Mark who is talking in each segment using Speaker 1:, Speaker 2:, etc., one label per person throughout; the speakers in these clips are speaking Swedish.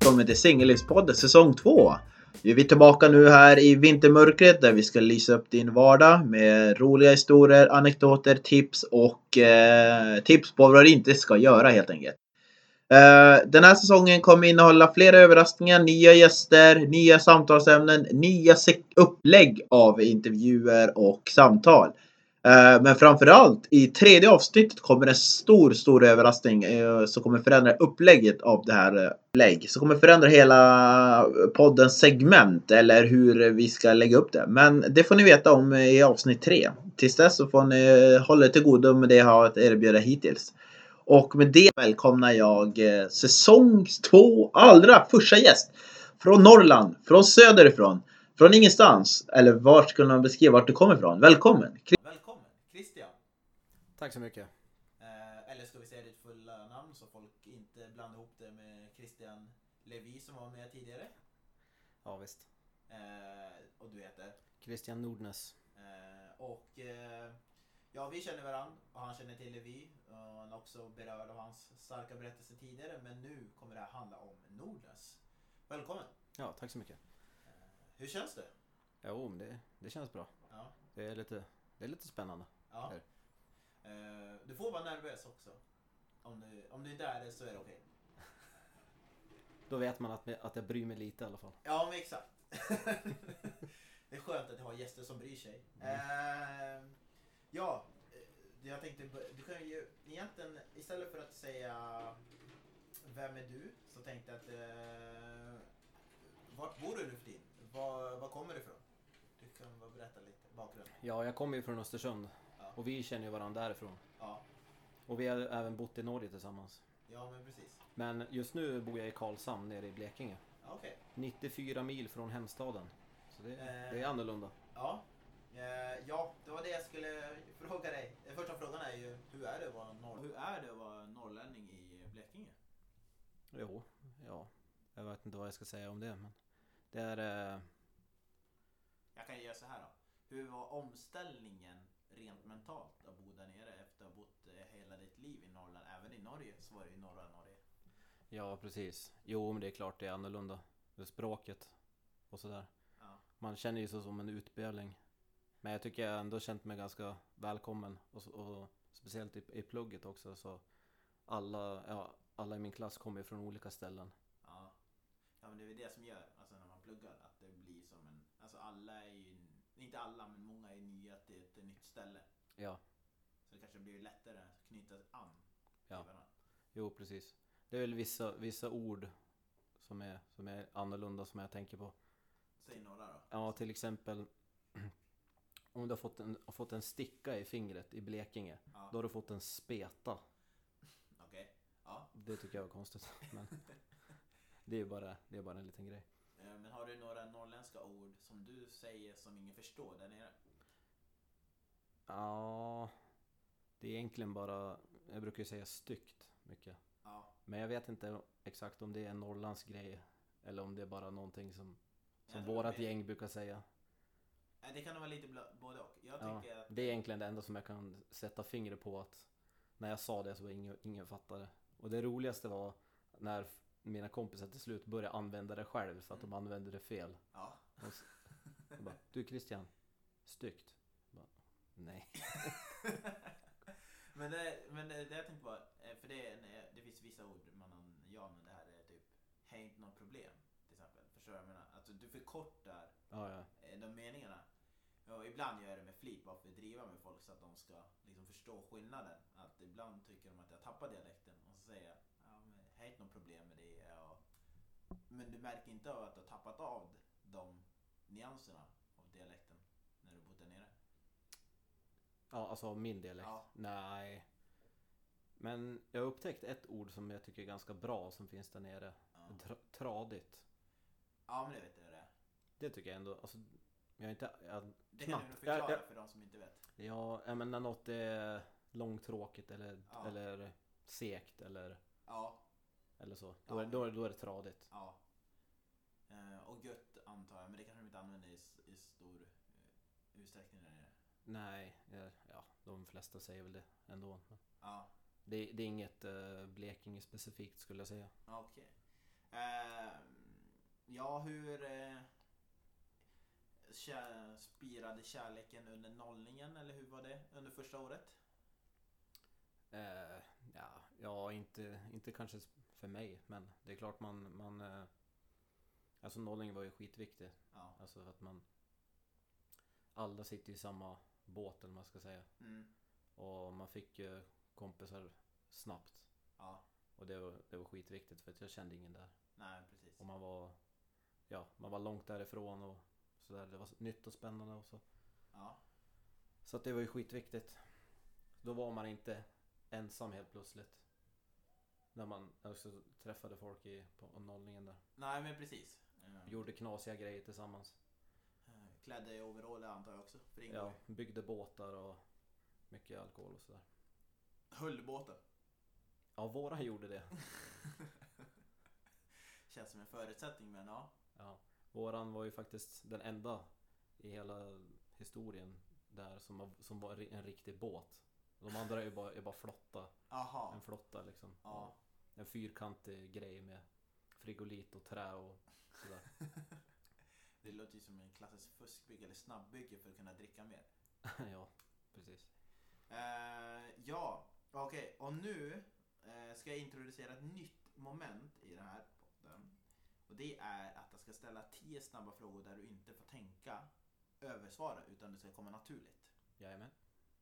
Speaker 1: välkommen till Singellivspodden säsong 2. Vi är tillbaka nu här i vintermörkret där vi ska lysa upp din vardag med roliga historier, anekdoter, tips och eh, tips på vad du inte ska göra helt enkelt. Eh, Den här säsongen kommer innehålla flera överraskningar, nya gäster, nya samtalsämnen, nya se- upplägg av intervjuer och samtal. Eh, Men framförallt i tredje avsnittet kommer en stor, stor överraskning eh, som kommer förändra upplägget av det här eh, lägg. Som kommer förändra hela poddens segment eller hur vi ska lägga upp det. Men det får ni veta om i avsnitt tre. Tills dess så får ni hålla er till godo med det jag har att erbjuda hittills. Och med det välkomnar jag eh, säsong två allra första gäst. Från Norrland, från söderifrån, från ingenstans. Eller vart skulle man beskriva vart du kommer ifrån? Välkommen! Välkommen Christian!
Speaker 2: Tack så mycket.
Speaker 1: Eh, eller ska vi säga ditt fulla namn så folk inte blandar ihop det med Christian Levi som var med tidigare.
Speaker 2: Ja visst.
Speaker 1: Eh, och du heter?
Speaker 2: Christian Nordnes.
Speaker 1: Eh, och eh, ja, vi känner varandra och han känner till Levi. Och han är också berörd av hans starka berättelse tidigare. Men nu kommer det här handla om Nordnes. Välkommen!
Speaker 2: Ja, tack så mycket.
Speaker 1: Hur känns det?
Speaker 2: Jo, men det, det känns bra.
Speaker 1: Ja.
Speaker 2: Det är lite, det är lite spännande.
Speaker 1: ja. Eh, du får vara nervös också. Om du, om du inte är det så är det okej.
Speaker 2: Då vet man att, att jag bryr mig lite i alla fall.
Speaker 1: Ja, men exakt. det är skönt att ha gäster som bryr sig. Eh, ja, eh, jag tänkte, bör- du kan ju egentligen, istället för att säga vem är du, så tänkte jag att eh, vart bor du nu för tiden? Var, var kommer du ifrån? Du kan bara berätta lite bakgrund.
Speaker 2: Ja, jag kommer ju från Östersund.
Speaker 1: Ja.
Speaker 2: Och vi känner ju varandra därifrån.
Speaker 1: Ja,
Speaker 2: Och vi har även bott i Norge tillsammans.
Speaker 1: ja men precis.
Speaker 2: Men just nu bor jag i Karlshamn nere i Blekinge.
Speaker 1: Ja, Okej.
Speaker 2: 94 mil från hemstaden. Så det,
Speaker 1: Eh.
Speaker 2: det är annorlunda.
Speaker 1: Ja. Eh, ja, det var det jag skulle fråga dig. Den första frågan är ju, hur är det att vara, norr- hur är det att vara norrlänning i Blekinge?
Speaker 2: Jo, ja. Jag vet inte vad jag ska säga om det. Men det är... Eh,
Speaker 1: Jag kan göra så här då. Hur var omställningen rent mentalt att bo där nere efter att ha bott eh, hela ditt liv i Norrland? Även i Norge så var det i norra Norge.
Speaker 2: Ja, precis. Jo, men det är klart det är annorlunda. Det är språket och sådär.
Speaker 1: Ja.
Speaker 2: Man känner ju sig som en utböling. Men jag tycker jag ändå känt mig ganska välkommen. Och, så- och speciellt i, i plugget också. Så alla, ja, alla i min klass kommer ju från olika ställen.
Speaker 1: Ja. ja, men det är väl det som gör, alltså när man pluggar, att det blir som en, alltså alla är ju, inte alla men många är nya till ett nytt ställe.
Speaker 2: Ja,
Speaker 1: Så det kanske blir lättare att knyta an till
Speaker 2: Ja.
Speaker 1: varandra.
Speaker 2: jo precis. Det är väl vissa, vissa ord som är, som är annorlunda som jag tänker på.
Speaker 1: Säg några då.
Speaker 2: Ja, till exempel om du har fått en, har fått en sticka i fingret i Blekinge.
Speaker 1: Ja.
Speaker 2: Då har du fått en speta.
Speaker 1: Okej. Ja.
Speaker 2: Det tycker jag var konstigt. Men det är ju bara, det är bara en liten grej.
Speaker 1: Eh, Men har du några norrländska ord som du säger som ingen förstår där nere?
Speaker 2: Ja, det är egentligen bara... Jag brukar ju säga styggt mycket.
Speaker 1: Ja.
Speaker 2: Men jag vet inte exakt om det är en norrländsk grej. Eller om det är bara någonting som, som
Speaker 1: Jag tror
Speaker 2: vårat
Speaker 1: det.
Speaker 2: gäng brukar säga.
Speaker 1: Eh, Det kan vara lite bla- både och. Jag
Speaker 2: Ja,
Speaker 1: tycker att
Speaker 2: det är egentligen det enda som jag kan sätta fingret på att när jag sa det så var ingen, ingen fattade. Och det roligaste var när f- mina kompisar till slut började använda det själv för att de använde det fel.
Speaker 1: Ja.
Speaker 2: Och så, jag bara, du Christian, styggt. Jag Bara, Nej.
Speaker 1: men det, men det, det jag tänkte på, eh, för det, är en- det finns vissa ord man använder, ja men det här är typ, hej inte något problem till exempel. Förstår du vad jag menar? Alltså du förkortar
Speaker 2: Ja, ja.
Speaker 1: eh, de meningarna. Och ibland gör jag det med flit bara för att driva med folk så att de ska liksom förstå skillnaden. Att ibland tycker de att jag tappar dialekten och så säger jag, ja men det är inte något problem med det. Och, men du märker inte av att du har tappat av de nyanserna av dialekten när du bott där nere.
Speaker 2: ja alltså av min dialekt.
Speaker 1: Ja.
Speaker 2: Nej. Men jag har upptäckt ett ord som jag tycker är ganska bra som finns där nere.
Speaker 1: Ja,
Speaker 2: Tra- tradigt.
Speaker 1: ja men det vet jag vad det är.
Speaker 2: Det tycker jag ändå. Alltså, jag är inte... Jag,
Speaker 1: Det kan du nog
Speaker 2: Knappt. Ja,
Speaker 1: förklara
Speaker 2: ja.
Speaker 1: för de som inte vet.
Speaker 2: Ja, ja, men när något är långtråkigt eller,
Speaker 1: Ja.
Speaker 2: eller segt eller,
Speaker 1: Ja,
Speaker 2: eller så.
Speaker 1: Ja.
Speaker 2: Då, är, då, är, då är det tradigt.
Speaker 1: ja. Eh, Och gött antar jag, men det kanske de inte använder i, s- i stor eh, utsträckning där nere.
Speaker 2: Nej, eh, ja, de flesta säger väl det ändå. Men
Speaker 1: Ja.
Speaker 2: Det, det är inget eh, Blekinge specifikt skulle jag säga.
Speaker 1: Okej. Eh, Ja, hur eh, kä- spirade kärleken under nollningen eller hur var det under första året?
Speaker 2: Eh, ja, ja inte, inte kanske s- för mig, men det är klart man... man eh, alltså nollningen var ju skitviktig.
Speaker 1: Ja.
Speaker 2: Alltså att man... Alla sitter i samma båt eller vad man ska säga.
Speaker 1: Mm.
Speaker 2: Och man fick ju kompisar snabbt.
Speaker 1: Ja,
Speaker 2: Och det var, det var skitviktigt för att jag kände ingen där.
Speaker 1: nej precis.
Speaker 2: Och man var... Ja, man var långt därifrån och sådär. Det var s- nytt och spännande och så.
Speaker 1: Ja,
Speaker 2: Så att det var ju skitviktigt. Då var man inte ensam helt plötsligt. När man också träffade folk i, på nollningen där.
Speaker 1: nej men precis. Eh,
Speaker 2: Gjorde knasiga grejer tillsammans.
Speaker 1: eh, Klädde i overall antar jag också, för det ingår
Speaker 2: Ja,
Speaker 1: ju.
Speaker 2: byggde båtar och mycket alkohol och sådär.
Speaker 1: Höll båten.
Speaker 2: Ja, våra gjorde det.
Speaker 1: Känns som en förutsättning men ja.
Speaker 2: Ja. Våran var ju faktiskt den enda i hela historien där som, var- som var en riktig båt. De andra är ju bara, är bara flotta.
Speaker 1: Aha.
Speaker 2: En flotta liksom.
Speaker 1: Ja.
Speaker 2: En fyrkantig grej med frigolit och trä och sådär.
Speaker 1: Det låter ju som en klassisk fuskbygge eller snabbbygge för att kunna dricka mer.
Speaker 2: ja, precis.
Speaker 1: Eh, ja, okej. Och nu eh, ska jag introducera ett nytt moment i den här podden. Och det är att jag ska ställa 10 snabba frågor där du inte får tänka, översvara, utan det ska komma naturligt.
Speaker 2: Jajamän,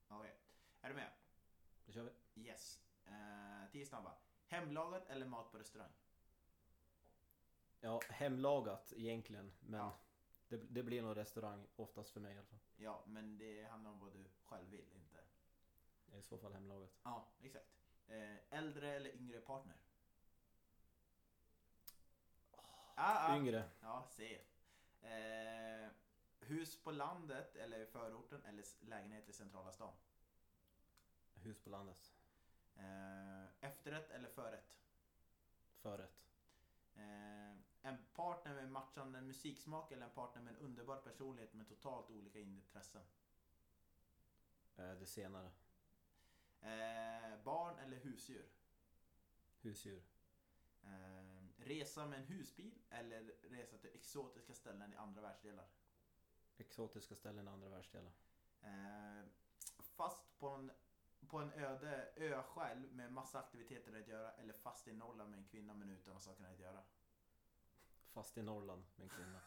Speaker 1: Okej, är du med?
Speaker 2: då kör vi.
Speaker 1: Yes. 10 snabba. Hemlagat eller mat på restaurang?
Speaker 2: Ja, hemlagat egentligen, men
Speaker 1: Ja.
Speaker 2: det, det blir nog restaurang oftast för mig i alla fall.
Speaker 1: Ja, men det handlar om vad du själv vill, inte...
Speaker 2: I så fall hemlagat.
Speaker 1: Ja, exakt. Eh, äldre eller yngre partner? Ah, ah.
Speaker 2: Yngre,
Speaker 1: Ja, se. Eh, hus på landet eller i förorten eller s- lägenhet i centrala stan?
Speaker 2: hus på landet.
Speaker 1: Eh, efterrätt eller förrätt?
Speaker 2: Förrätt.
Speaker 1: Eh, en partner med matchande musiksmak eller en partner med en underbar personlighet med totalt olika intressen?
Speaker 2: Eh, Det senare.
Speaker 1: Eh, barn eller husdjur?
Speaker 2: Husdjur.
Speaker 1: Eh, resa med en husbil eller resa till exotiska ställen i andra världsdelar?
Speaker 2: Exotiska ställen i andra världsdelar.
Speaker 1: Eh, fast på en, på en öde ö själv med massa aktiviteter att göra eller fast i Norrland med en kvinna men utan massa saker att göra.
Speaker 2: Fast i Norrland med en kvinna.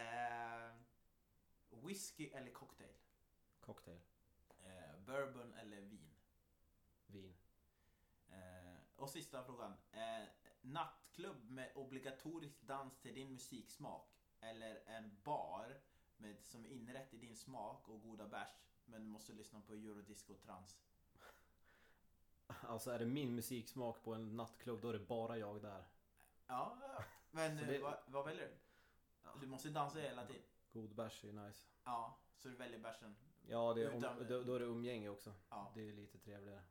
Speaker 1: Eh, whisky eller cocktail?
Speaker 2: Cocktail.
Speaker 1: Eh, bourbon eller vin?
Speaker 2: Vin.
Speaker 1: Eh, och sista frågan. Eh, nattklubb med obligatorisk dans till din musiksmak eller en bar med, som är inrätt i din smak och goda bärs men du måste lyssna på eurodisco och trans.
Speaker 2: Alltså är det min musiksmak på en nattklubb då är det bara jag där.
Speaker 1: Ja, ja. men
Speaker 2: Så
Speaker 1: eh,
Speaker 2: det- Mm.
Speaker 1: vad, vad väljer du? Du måste dansa hela tiden.
Speaker 2: God bärs är ju nice.
Speaker 1: Ja, så du väljer bärsen.
Speaker 2: Ja, det är
Speaker 1: Utan-
Speaker 2: um, då, då är det umgänge också.
Speaker 1: Ja,
Speaker 2: Det är lite trevligare.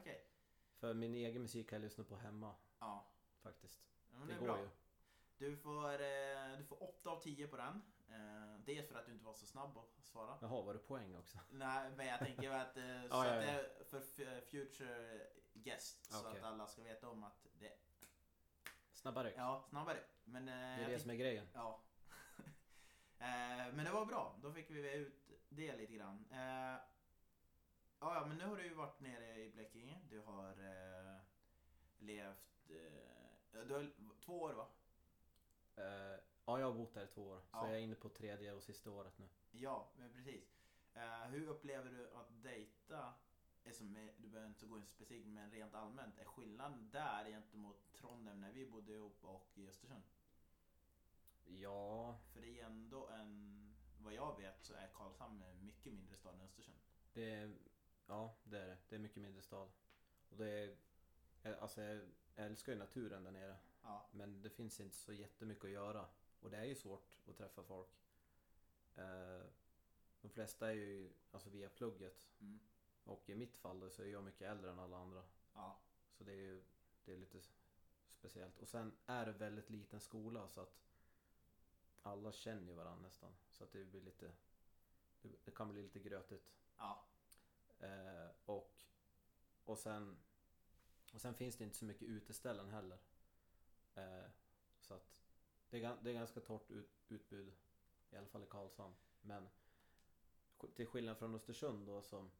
Speaker 1: okej.
Speaker 2: För min egen musik kan jag lyssna på hemma
Speaker 1: Ja,
Speaker 2: faktiskt.
Speaker 1: Ja, men
Speaker 2: Det,
Speaker 1: det, är
Speaker 2: går
Speaker 1: bra.
Speaker 2: ju.
Speaker 1: Du får, eh, du får 8 av 10 på den. Eh, dels för att du inte var så snabb att svara.
Speaker 2: Jaha, var det poäng också?
Speaker 1: Nej, men jag tänker att, eh, så
Speaker 2: Ja, ja,
Speaker 1: att det
Speaker 2: ja.
Speaker 1: är för f- future guest. Så
Speaker 2: Okej.
Speaker 1: att alla ska veta om att det
Speaker 2: Snabbare.
Speaker 1: Ja, snabbare. Men, eh,
Speaker 2: det
Speaker 1: jag
Speaker 2: är det
Speaker 1: tänk-
Speaker 2: som är grejen.
Speaker 1: Ja. eh, men det var bra, då fick vi ut det lite grann. Eh, ja, ja, men nu har du ju varit nere i Blekinge. Du har eh, levt... Eh, du har två år va?
Speaker 2: Eh, ja, jag har bott där i två år. Så
Speaker 1: Ja.
Speaker 2: jag är inne på tredje och sista året nu.
Speaker 1: Ja, men precis. Eh, hur upplever du att dejta, eh, som är, du behöver inte gå in specifikt, men rent allmänt, är skillnaden där gentemot Trondheim när vi bodde ihop och i Östersund?
Speaker 2: Ja,
Speaker 1: För det är ändå en... Vad jag vet så är Karlshamn en mycket mindre stad än Östersund.
Speaker 2: det är, ja, det är det. Det är mycket mindre stad. Och det är, jag- alltså jag älskar ju naturen där nere.
Speaker 1: Ja,
Speaker 2: Men det finns inte så jättemycket att göra. Och det är ju svårt att träffa folk. Eh, de flesta är ju alltså via plugget.
Speaker 1: Mm.
Speaker 2: Och i mitt fall så är jag mycket äldre än alla andra.
Speaker 1: ja.
Speaker 2: Så det är ju det är lite s- speciellt. Och sen är det väldigt liten skola så att alla känner ju varandra nästan. Så att det blir lite... det- Det kan bli lite grötigt.
Speaker 1: Ja,
Speaker 2: Eh, och, och, sen, och sen finns det inte så mycket uteställen heller. Eh, så att Det är, gan- det är ganska torrt ut, utbud. I alla fall i Karlshamn. Men sk- till skillnad från Östersund då som,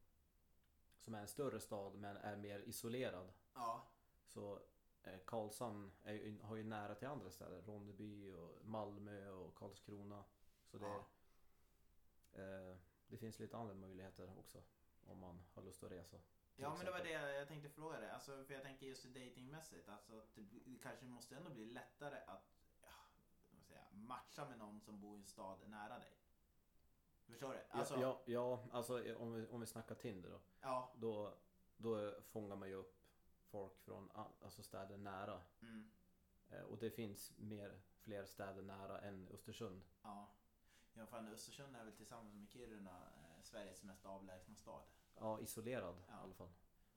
Speaker 2: som är en större stad men är mer isolerad.
Speaker 1: Ja,
Speaker 2: Så eh, Karlshamn är, ju- har ju nära till andra städer. Ronneby och Malmö och Karlskrona. Så det,
Speaker 1: Ja.
Speaker 2: eh, det finns lite andra möjligheter också. Om man har lust att resa. till
Speaker 1: ja men det var
Speaker 2: exempel.
Speaker 1: det jag tänkte fråga dig. Alltså, för jag tänker just datingmässigt. Alltså, att det, det kanske måste ändå bli lättare att ja, vad ska jag säga, matcha med någon som bor i en stad nära dig. Förstår du? Alltså,
Speaker 2: ja, ja, ja, alltså eh, om vi, om vi snackar Tinder då.
Speaker 1: ja,
Speaker 2: Då, då fångar man ju upp folk från a- alltså städer nära.
Speaker 1: mm,
Speaker 2: Eh, Och det finns mer, fler städer nära än Östersund.
Speaker 1: ja. Ja, fan, Östersund är väl tillsammans med Kiruna eh, Sveriges mest avlägsna stad.
Speaker 2: Ja, isolerad
Speaker 1: Ja.
Speaker 2: i alla fall.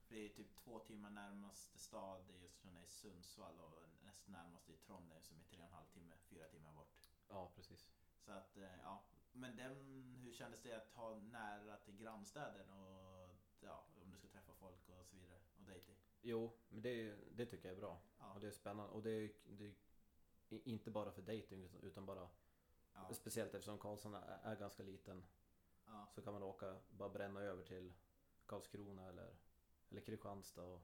Speaker 1: För det är typ två timmar närmaste stad i Östersund är Sundsvall och näst närmaste är Trondheim som är tre och en halv timme, fyra timmar bort.
Speaker 2: Ja, precis.
Speaker 1: Så att, eh, ja. Men den, hur kändes det att ha nära till grannstäder och ja, om du ska träffa folk och så vidare och dejting?
Speaker 2: Jo, men det, är ju- det tycker jag är bra.
Speaker 1: Ja.
Speaker 2: Och det är spännande. Och det är, ju- det är ju i- inte bara för dejting utan- utan bara...
Speaker 1: Ja.
Speaker 2: Speciellt eftersom Karlsson är, är ganska liten.
Speaker 1: Ja.
Speaker 2: Så kan man åka, bara bränna över till Karlskrona eller, eller Kristianstad. Och,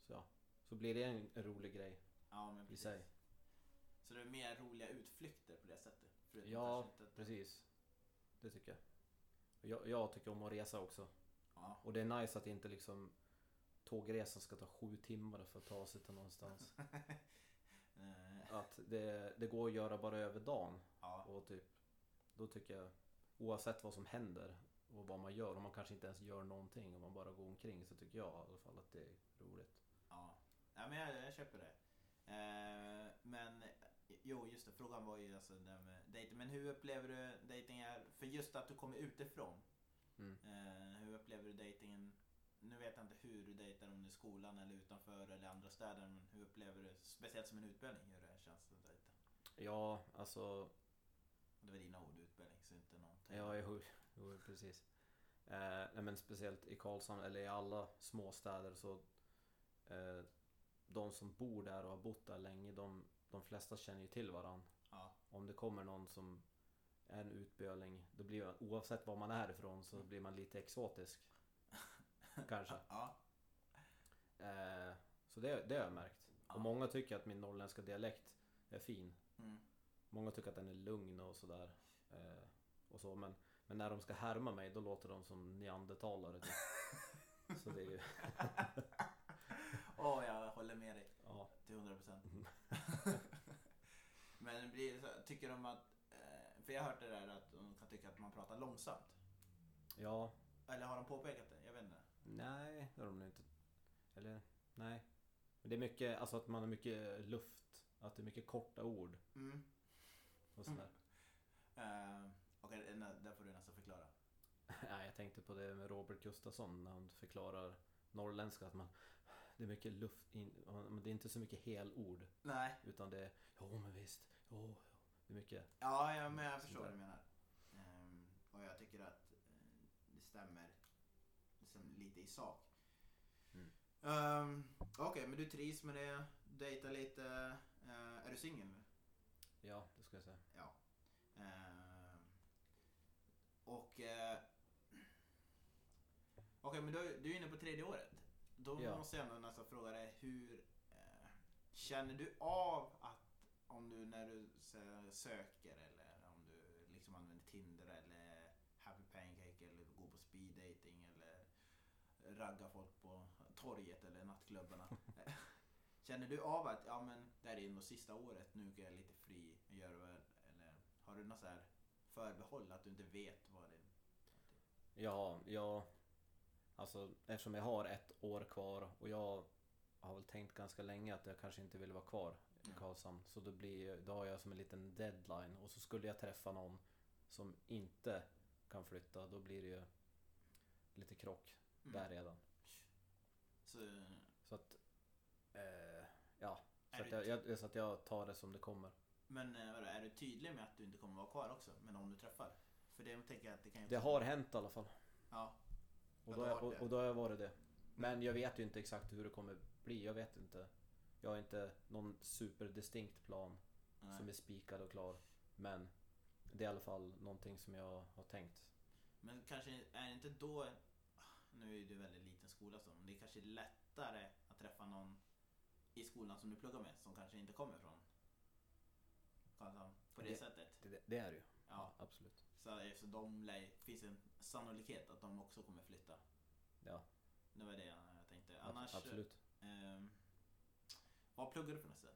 Speaker 2: så, ja. så blir det en, en rolig grej.
Speaker 1: ja, men
Speaker 2: I
Speaker 1: precis.
Speaker 2: sig.
Speaker 1: Så det är mer roliga utflykter på det sättet? Förutom
Speaker 2: Ja,
Speaker 1: kanske inte att-
Speaker 2: precis. Det tycker jag. Och Jag, jag tycker om att resa också.
Speaker 1: Ja.
Speaker 2: Och det är nice att inte liksom tågresan ska ta sju timmar för att ta sig till någonstans.
Speaker 1: Eh,
Speaker 2: Att det, det går att göra bara över dagen.
Speaker 1: ja.
Speaker 2: Och typ, då tycker jag oavsett vad som händer och vad man gör, om man kanske inte ens gör någonting, om man bara går omkring så tycker jag i alla fall att det är roligt.
Speaker 1: Ja, ja men jag, jag köper det. Eh, men jo, just det. Frågan var ju alltså det här med dating. Men hur upplever du dejtingar? För just att du kommer utifrån.
Speaker 2: Mm.
Speaker 1: Eh, hur upplever du dejtingen? Nu vet jag inte hur du dejtar, om det är skolan eller utanför eller andra städer. Men hur upplever du, speciellt som en utlänning, hur det känns att dejta?
Speaker 2: Ja, alltså,
Speaker 1: Det var dina ord, utlänning, så inte någonting.
Speaker 2: ja, jo, jo precis. Eh, nej, men speciellt i Karlshamn, eller i alla småstäder så eh, de som bor där och har bott där länge, de, de flesta känner ju till varandra.
Speaker 1: Ja,
Speaker 2: om det kommer någon som är en utböling, då blir man, oavsett var man är ifrån så blir man lite exotisk. Kanske.
Speaker 1: ja,
Speaker 2: Eh, så det, det har jag märkt.
Speaker 1: Ja.
Speaker 2: Och många tycker att min norrländska dialekt är fin.
Speaker 1: mm,
Speaker 2: Många tycker att den är lugn och sådär. Eh, och så, men, men när de ska härma mig då låter de som neandertalare. Typ. Så det är ju,
Speaker 1: Åh, jag håller med dig.
Speaker 2: ja.
Speaker 1: Till 100 procent. Men det blir, så- tycker de att... eh, För jag har hört det där att de kan tycka att man pratar långsamt.
Speaker 2: Ja.
Speaker 1: Eller har de påpekat det? Jag vet inte.
Speaker 2: Nej, det har de nog inte. Eller nej. Men det är mycket, alltså att man har mycket luft. Att det är mycket korta ord
Speaker 1: Mm.
Speaker 2: och sådär.
Speaker 1: Eh, Okej, det- nä- där får du nästan förklara.
Speaker 2: Ja, jag tänkte på det med Robert Gustafsson när han förklarar norrländska att man det är mycket luft in, men det är inte så mycket helord
Speaker 1: Nej,
Speaker 2: utan det är jo men visst, jo, jo. Det är mycket,
Speaker 1: ja, ja men jag förstår
Speaker 2: Sånt
Speaker 1: vad
Speaker 2: där.
Speaker 1: du menar. Ehm, och jag tycker att eh, det stämmer liksom lite i sak.
Speaker 2: Mm.
Speaker 1: Ehm, Okej, men du trivs med det, dejtar lite. Eh, är du singel nu?
Speaker 2: ja det ska jag säga.
Speaker 1: Ja. Eh, och... Eh, Okej, men du, du är inne på tredje året. Då
Speaker 2: Ja.
Speaker 1: måste jag ändå nästan fråga dig hur... Eh, känner du av att om du när du sö- söker eller om du liksom använder Tinder eller Happy Pancake eller går på speed dating eller raggar folk på torget eller nattklubbarna. Känner du av att ja, men det här är ändå sista året, nu är jag lite fri, jag gör väl, eller har du något så här förbehåll att du inte vet vad det är?
Speaker 2: Ja, jag alltså eftersom jag har ett år kvar och jag har väl tänkt ganska länge att jag kanske inte vill vara kvar i
Speaker 1: Mm.
Speaker 2: Karlshamn så då blir då har jag som en liten deadline och så skulle jag träffa någon som inte kan flytta då blir det ju lite krock
Speaker 1: Mm.
Speaker 2: där redan.
Speaker 1: Så,
Speaker 2: Så att... Eh, ja.
Speaker 1: Är
Speaker 2: Så att,
Speaker 1: du
Speaker 2: jag, jag, så att jag tar det som det kommer.
Speaker 1: men eh, vadå, är du tydlig med att du inte kommer vara kvar också, men om du träffar? För det tänker jag att det kan ju...
Speaker 2: Det har hänt i alla fall.
Speaker 1: Ja,
Speaker 2: Och
Speaker 1: Ja,
Speaker 2: då,
Speaker 1: det har
Speaker 2: och,
Speaker 1: det. Mm.
Speaker 2: och då har jag varit det. Men jag vet ju inte exakt hur det kommer bli. Jag vet inte. Jag har inte någon superdistinkt plan. som är spikad och klar. Men det är i alla fall någonting som jag har tänkt.
Speaker 1: Men kanske är det inte då, nu är du väldigt liten skola så, men det är kanske lättare att träffa någon i skolan som du pluggar med som kanske inte kommer från Karlshamn på det,
Speaker 2: Det-
Speaker 1: sättet.
Speaker 2: Det, det är det ju.
Speaker 1: Ja,
Speaker 2: Absolut.
Speaker 1: så, så de lär, finns en sannolikhet att de också kommer flytta.
Speaker 2: Ja,
Speaker 1: Det var det jag tänkte.
Speaker 2: ab-
Speaker 1: Annars, eh,
Speaker 2: absolut.
Speaker 1: ehm, vad pluggar du för nästa?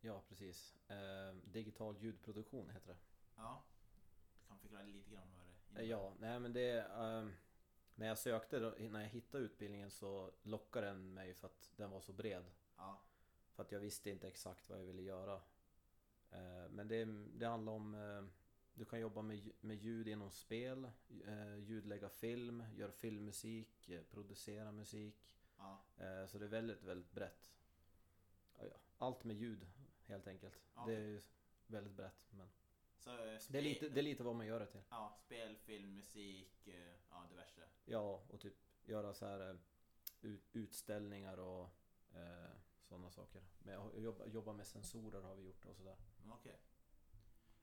Speaker 2: Ja, precis. Eh, digital ljudproduktion heter det.
Speaker 1: Ja, du kan förklara lite grann vad det
Speaker 2: Eh, Ja, nej men det... ehm, när jag sökte, då, när jag hittade utbildningen så lockade den mig för att den var så bred.
Speaker 1: Ja,
Speaker 2: För att jag visste inte exakt vad jag ville göra. Eh, men det, det handlar om... eh, du kan jobba med, lj- med ljud inom spel, eh, ljudlägga film, gör filmmusik, eh, producera musik.
Speaker 1: ja,
Speaker 2: Eh, så det är väldigt, väldigt brett. Ja, ja, Allt med ljud helt enkelt.
Speaker 1: Ja.
Speaker 2: Det är ju väldigt brett. Men
Speaker 1: så
Speaker 2: det, är
Speaker 1: spe-
Speaker 2: lite, det är lite vad man gör det till.
Speaker 1: Ja, spel, film, musik, eh, ja diverse.
Speaker 2: Ja, och typ göra så här eh, ut, utställningar och eh, sådana saker. Men jag har- jobba, jobba med sensorer har vi gjort och sådär.
Speaker 1: Okej.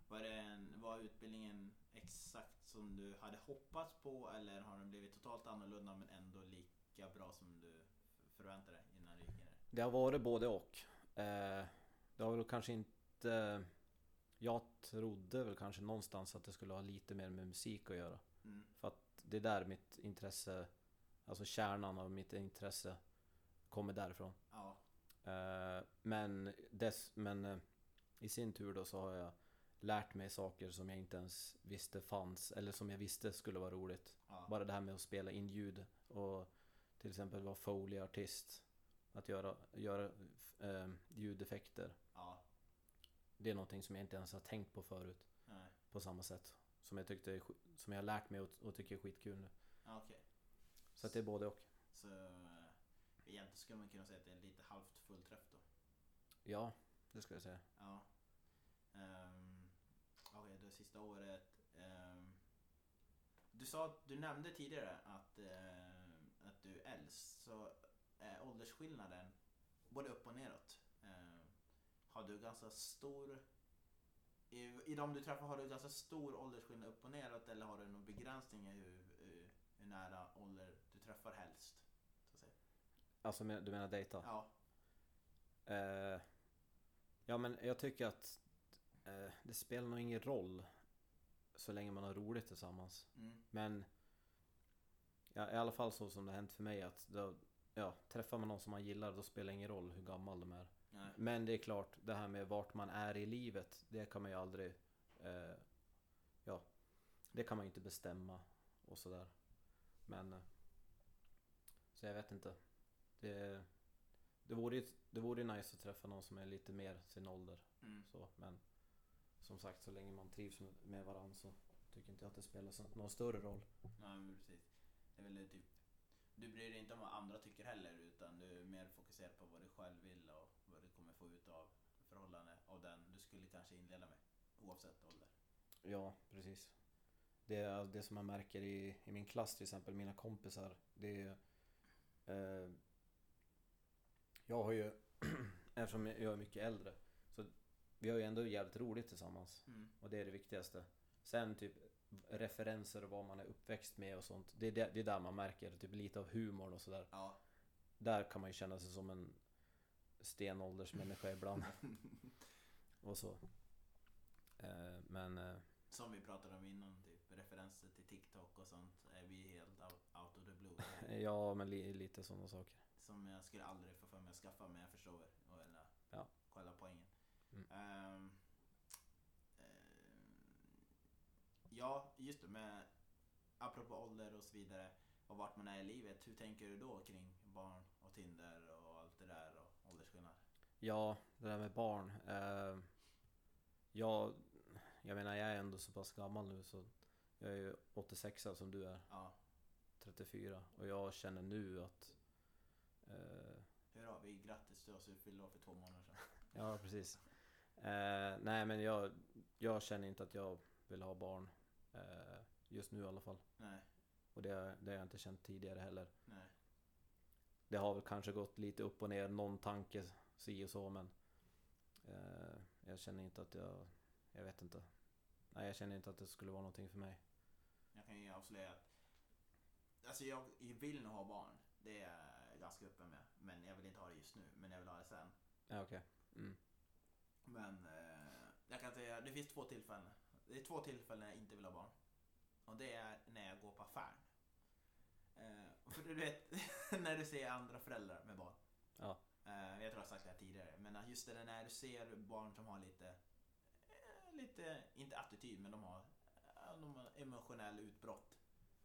Speaker 1: Var, det en- var utbildningen exakt som du hade hoppats på eller har den blivit totalt annorlunda men ändå lika bra som du förväntade dig innan du gick in i det?
Speaker 2: Det har varit både och. Eh, det har väl kanske inte... Jag trodde väl kanske någonstans att det skulle ha lite mer med musik att göra.
Speaker 1: Mm.
Speaker 2: För att det är där mitt intresse, alltså kärnan av mitt intresse kommer därifrån.
Speaker 1: Ja,
Speaker 2: Eh, men dess, men eh, i sin tur då så har jag lärt mig saker som jag inte ens visste fanns eller som jag visste skulle vara roligt.
Speaker 1: ja.
Speaker 2: Bara det här med att spela in ljud och till exempel vara foley-artist. Att göra, göra eh, ljudeffekter.
Speaker 1: ja.
Speaker 2: Det är någonting som jag inte ens har tänkt på förut
Speaker 1: Nej.
Speaker 2: på samma sätt. Som jag, tyckte, är sk- som jag har lärt mig och, och tycker är skitkul nu.
Speaker 1: Ja, Okej.
Speaker 2: Så att det är både och.
Speaker 1: Så eh, egentligen skulle man kunna säga att det är lite halvt fullträff då.
Speaker 2: Ja, det ska jag säga.
Speaker 1: Ja. Um, Okej, det sista året. ehm, du, sa, att- du nämnde tidigare att, ehm, att du är äldst. Så är åldersskillnaden både upp och neråt. Ehm, har du ganska stor... I, I de du träffar, har du ganska stor åldersskillnad upp och neråt eller har du någon begränsning i hur, hur, hur nära ålder du träffar helst? Så att säga.
Speaker 2: Alltså men- du menar dejta?
Speaker 1: Ja.
Speaker 2: Eh, ja men jag tycker att eh, det spelar nog ingen roll så länge man har roligt tillsammans.
Speaker 1: Mm,
Speaker 2: Men ja, i alla fall så som det har hänt för mig att då, ja, träffar man någon som man gillar då spelar det ingen roll hur gammal de är.
Speaker 1: nej.
Speaker 2: Men det är klart, det här med vart man är i livet, det kan man ju aldrig... Eh, ja, det kan man ju inte bestämma och sådär. Men... eh, Så jag vet inte. Det, det, vore ju, det vore ju nice att träffa någon som är lite mer sin ålder.
Speaker 1: Mm.
Speaker 2: Så, men som sagt, så länge man trivs med- med varandra så tycker inte jag att det spelar så- någon större roll.
Speaker 1: Nej men precis. Det är väl det typ, du bryr dig inte om vad andra tycker heller utan du är mer fokuserad på vad du själv vill och vad du kommer få ut av förhållande av den du skulle kanske inleda med. Oavsett ålder.
Speaker 2: Ja, precis. Det, är det som man märker i, i min klass till exempel, mina kompisar. Det är, eh, jag har ju, eftersom jag är mycket äldre, så vi har ju ändå jävligt roligt tillsammans.
Speaker 1: Mm.
Speaker 2: Och det är det viktigaste. Sen typ referenser och vad man är uppväxt med och sånt. Det är, där, det är där man märker typ lite av humorn och sådär.
Speaker 1: Ja.
Speaker 2: Där kan man ju känna sig som en stenåldersmänniska ibland. och så. Eh, men eh,
Speaker 1: Som vi pratade om innan, typ referenser till TikTok och sånt är vi helt out, out of the blue.
Speaker 2: Ja, men li- lite sådana saker.
Speaker 1: Som jag skulle aldrig få för mig att skaffa men jag förstår och eller
Speaker 2: Ja.
Speaker 1: kolla poängen.
Speaker 2: Mm.
Speaker 1: Ehm, ehm, ja, just det. Men apropå ålder och så vidare och vart man är i livet. Hur tänker du då kring barn och Tinder och allt det där och åldersskillnad?
Speaker 2: Ja, det där med barn. Eh, jag, jag menar, jag är ändå så pass gammal nu så jag är ju 86 som du är,
Speaker 1: Ja,
Speaker 2: 34. Och jag känner nu att... Eh,
Speaker 1: hurra. Vi grattis till oss. Vi fyllde år för två månader sedan.
Speaker 2: ja, precis. Eh, nej, men jag, jag känner inte att jag vill ha barn. Eh, just nu i alla fall.
Speaker 1: Nej,
Speaker 2: Och det, det har jag inte känt tidigare heller.
Speaker 1: nej.
Speaker 2: Det har väl kanske gått lite upp och ner, någon tanke si och så men eh, Jag känner inte att jag... Jag vet inte. Nej, jag känner inte att det skulle vara någonting för mig.
Speaker 1: Jag kan ju avslöja att alltså jag vill nog ha barn. Det är jag ganska öppen med. Men jag vill inte ha det just nu. Men jag vill ha det sen.
Speaker 2: Ja, okej. Mm.
Speaker 1: Men eh, jag kan säga det finns två tillfällen. Det är två tillfällen jag inte vill ha barn. Och det är när jag går på affären. Eh, för du vet, när du ser andra föräldrar med barn.
Speaker 2: Ja.
Speaker 1: Eh, jag tror jag har sagt det här tidigare. Men att just det där när du ser barn som har lite, eh, lite, inte attityd, men de har, eh, de har emotionell utbrott.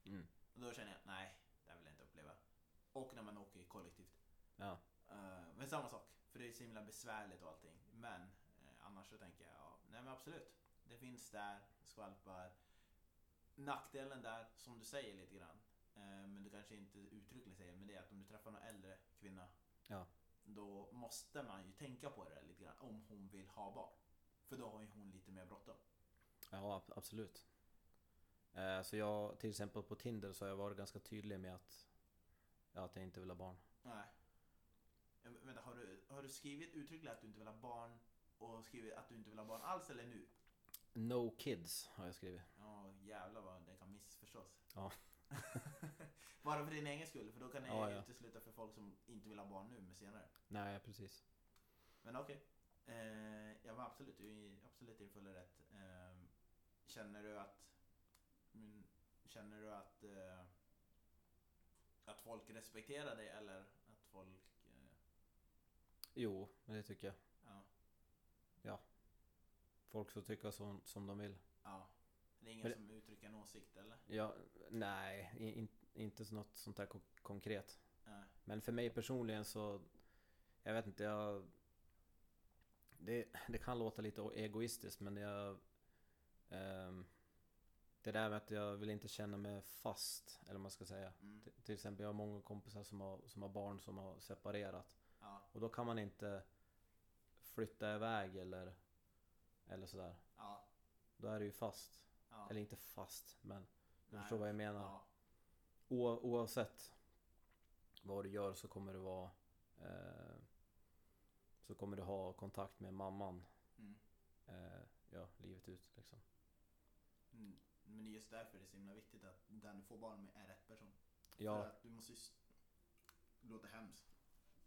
Speaker 2: Mm.
Speaker 1: Och då känner jag, nej, det här vill jag inte uppleva. Och när man åker kollektivt.
Speaker 2: Ja.
Speaker 1: Eh, men samma sak, för det är så himla besvärligt och allting. Men eh, annars så tänker jag, ja, nej men absolut. Det finns där, skvalpar. Nackdelen där, som du säger lite grann, eh, men du kanske inte uttryckligen säger, men det är att om du träffar någon äldre kvinna,
Speaker 2: Ja.
Speaker 1: då måste man ju tänka på det där lite grann, om hon vill ha barn. För då har ju hon lite mer bråttom.
Speaker 2: Ja, ab- absolut. Eh, Så jag, till exempel på Tinder så har jag varit ganska tydlig med att, att jag inte vill ha barn.
Speaker 1: Nej. Ja, men Eh, Vänta, har du, har du skrivit uttryckligen att du inte vill ha barn och skrivit att du inte vill ha barn alls eller nu?
Speaker 2: No kids har jag skrivit.
Speaker 1: Ja, jävlar vad det kan missförstås.
Speaker 2: Ja.
Speaker 1: Bara för din egen skull, för då kan det
Speaker 2: Ja, ja.
Speaker 1: utesluta för folk som inte vill ha barn nu, men senare.
Speaker 2: Nej, precis.
Speaker 1: Men okej. Eh, jag var absolut, du är i- absolut i full rätt. Eh, känner du att... mm, Känner du att... Eh, att folk respekterar dig eller att folk... Eh,
Speaker 2: Jo, men det tycker jag.
Speaker 1: ja.
Speaker 2: Folk får tycka som, som de vill.
Speaker 1: Ja. Det är ingen
Speaker 2: Men det-
Speaker 1: som uttrycker en åsikt eller?
Speaker 2: Ja, nej, i- in, inte så något sånt där kon- konkret.
Speaker 1: Nej.
Speaker 2: Men för mig personligen så... Jag vet inte, jag... Det, det kan låta lite egoistiskt men jag... ehm, det där med att jag vill inte känna mig fast, eller vad man ska säga.
Speaker 1: Mm.
Speaker 2: T- Till exempel, jag har många kompisar som har, som har barn som har separerat.
Speaker 1: Ja.
Speaker 2: Och då kan man inte flytta iväg eller, eller sådär.
Speaker 1: Ja.
Speaker 2: Då är det ju fast.
Speaker 1: Ja.
Speaker 2: Eller inte fast, men du
Speaker 1: Nej.
Speaker 2: förstår vad jag menar.
Speaker 1: Ja.
Speaker 2: O- oavsett vad du gör så kommer du vara eh, Så kommer du ha kontakt med mamman
Speaker 1: Mm.
Speaker 2: eh, Ja, livet ut liksom
Speaker 1: Mm. Men det är just därför det är så himla viktigt att den du får barn med är rätt person. För
Speaker 2: Ja,
Speaker 1: att du måste ju... s- Det låter hemskt.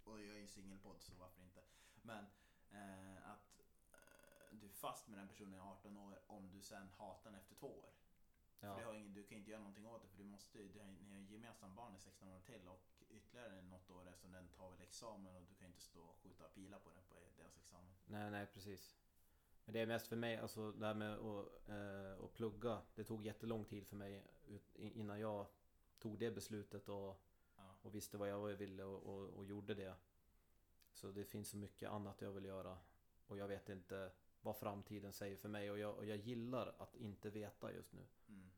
Speaker 1: Och jag är ju singelpodd så varför inte. Men eh, att eh, du är fast med den personen i 18 år om du sen hatar den efter två år. För du,
Speaker 2: ja,
Speaker 1: har ingen, du kan inte göra någonting åt det för du måste ju, du har, ni har ju gemensamt barn i 16 år till och ytterligare något år eftersom den tar väl examen och du kan inte stå och skjuta pilar på den på deras examen.
Speaker 2: nej nej precis Men det är mest för mig, alltså det här med att, eh, att plugga Det tog jättelång tid för mig ut- in- innan jag tog det beslutet och,
Speaker 1: Ja.
Speaker 2: och visste vad jag ville och, och, och gjorde det Så det finns så mycket annat jag vill göra Och jag vet inte vad framtiden säger för mig och jag, och jag gillar att inte veta just nu
Speaker 1: Mm.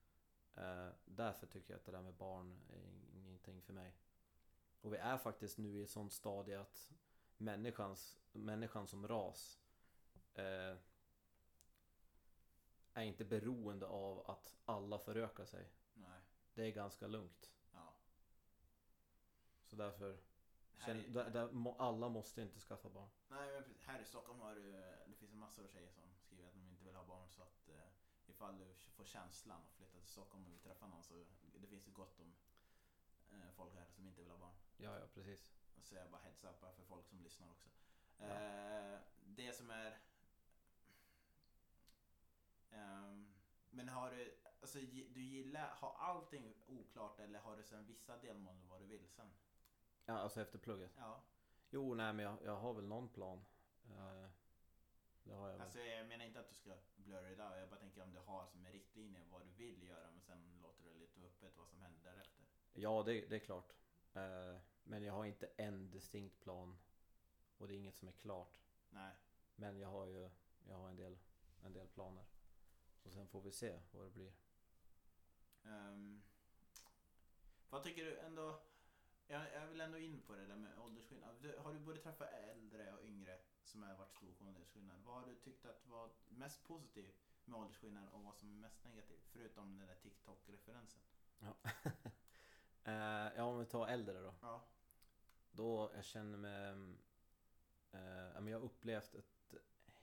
Speaker 2: Eh, därför tycker jag att det där med barn är ingenting för mig. Och vi är faktiskt nu i ett sånt stadie att människans, människan som ras eh, är inte beroende av att alla förökar sig.
Speaker 1: Nej.
Speaker 2: Det är ganska lugnt.
Speaker 1: Ja.
Speaker 2: Så därför,
Speaker 1: Här
Speaker 2: känner,
Speaker 1: i-
Speaker 2: där, där, må- alla måste inte skaffa barn.
Speaker 1: Nej, men precis. här i Stockholm har du, det finns en massa av tjejer som skriver att de inte vill ha barn så att eh, ifall du får känslan och flyttar till Stockholm och vill träffa någon så det finns ju gott om eh, folk här som inte vill ha barn.
Speaker 2: Ja, ja precis.
Speaker 1: Och så är jag bara heads up här för folk som lyssnar också. Eh, det som är... Ehm, men har du, alltså, gi- du gillar, har allting oklart eller har du sen vissa delmål vad du vill sen?
Speaker 2: Ja, alltså efter plugget.
Speaker 1: Ja,
Speaker 2: Jo, nej men jag, jag har väl någon plan. Eh, det har jag väl.
Speaker 1: alltså jag menar inte att du ska blurra it out. Jag bara tänker om du har som en riktlinje vad du vill göra men sen låter du det lite öppet vad som händer därefter.
Speaker 2: Ja, det, det är klart. Eh, Men jag har inte en distinkt plan. Och det är inget som är klart.
Speaker 1: Nej,
Speaker 2: Men jag har ju jag har en, del, en del planer. Och sen får vi se vad det blir.
Speaker 1: Ehm, vad tycker du ändå? Jag, jag vill ändå in på det där med åldersskillnad. Du, har du både träffat äldre och yngre som har varit stor åldersskillnad? Vad har du tyckt att var mest positivt med åldersskillnad och vad som är mest negativt? Förutom den där TikTok-referensen.
Speaker 2: Ja. Eh, ja, om vi tar äldre då.
Speaker 1: Ja.
Speaker 2: Då jag känner mig... eh, ja, men jag har upplevt ett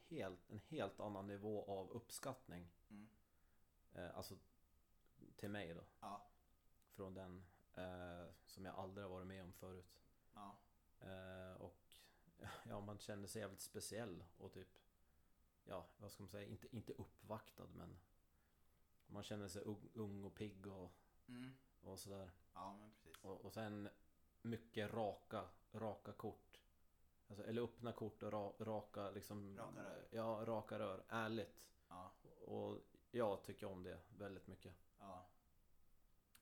Speaker 2: helt, en helt annan nivå av uppskattning.
Speaker 1: Mm.
Speaker 2: Eh, alltså till mig då.
Speaker 1: Ja.
Speaker 2: Från den eh, som jag aldrig har varit med om förut.
Speaker 1: Ja.
Speaker 2: Eh, och ja, man kände sig jävligt speciell och typ Ja, vad ska man säga? Inte, inte uppvaktad men Man kände sig ung, ung och pigg och,
Speaker 1: Mm.
Speaker 2: och sådär.
Speaker 1: Ja, men precis.
Speaker 2: Och, och sen mycket raka, raka kort. Alltså, eller öppna kort och ra, raka liksom...
Speaker 1: Raka rör.
Speaker 2: Ja, raka rör. Ärligt.
Speaker 1: Ja.
Speaker 2: Och jag tycker om det väldigt mycket.
Speaker 1: Ja.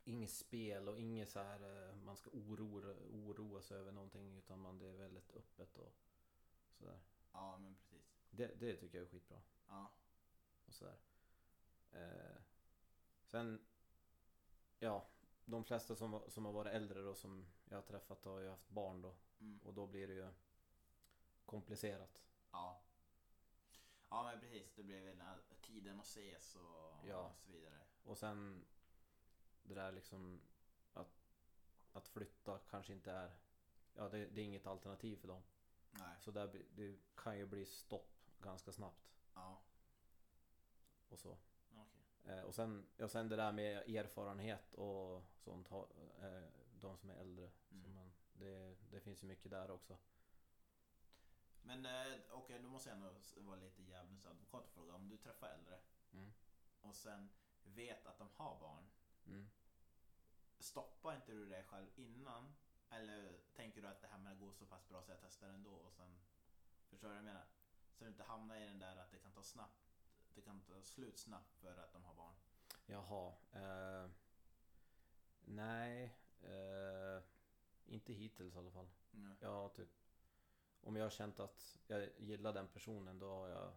Speaker 2: Inget spel och inget så här eh, man ska oroa, oroa sig över någonting utan man, det är väldigt öppet och sådär.
Speaker 1: Ja, men precis.
Speaker 2: Det, det tycker jag är skitbra.
Speaker 1: Ja.
Speaker 2: och sådär. Eh, sen, ja, de flesta som, var- som har varit äldre då som jag har träffat har ju haft barn då
Speaker 1: Mm.
Speaker 2: och då blir det ju komplicerat.
Speaker 1: Ja. Ja men precis, det blev väl när tiden att ses och,
Speaker 2: Ja.
Speaker 1: och så vidare.
Speaker 2: Och sen det där liksom att, att flytta kanske inte är, ja det, det är inget alternativ för dem.
Speaker 1: Nej.
Speaker 2: Så där, blir- det kan ju bli stopp ganska snabbt
Speaker 1: Ja.
Speaker 2: och så.
Speaker 1: Okej.
Speaker 2: Eh, och sen, ja, sen det där med erfarenhet och sånt, ha, eh, de som är äldre. Så
Speaker 1: Mm.
Speaker 2: man, det, det finns ju mycket där också.
Speaker 1: Men eh, okej, då måste jag ändå s- vara lite djävulens advokat och fråga. Om du träffar äldre
Speaker 2: Mm.
Speaker 1: och sen vet att de har barn.
Speaker 2: Mm.
Speaker 1: Stoppar inte du det själv innan? Eller tänker du att det här med går så pass bra så jag testar ändå och sen... Förstår du vad jag menar? Så du inte hamnar i den där att det kan ta snabbt. Det kan ta slut snabbt för att de har barn.
Speaker 2: Jaha. Eh, nej, eh, inte hittills i alla fall.
Speaker 1: Mm.
Speaker 2: Jag har typ, om jag har känt att jag gillar den personen då har jag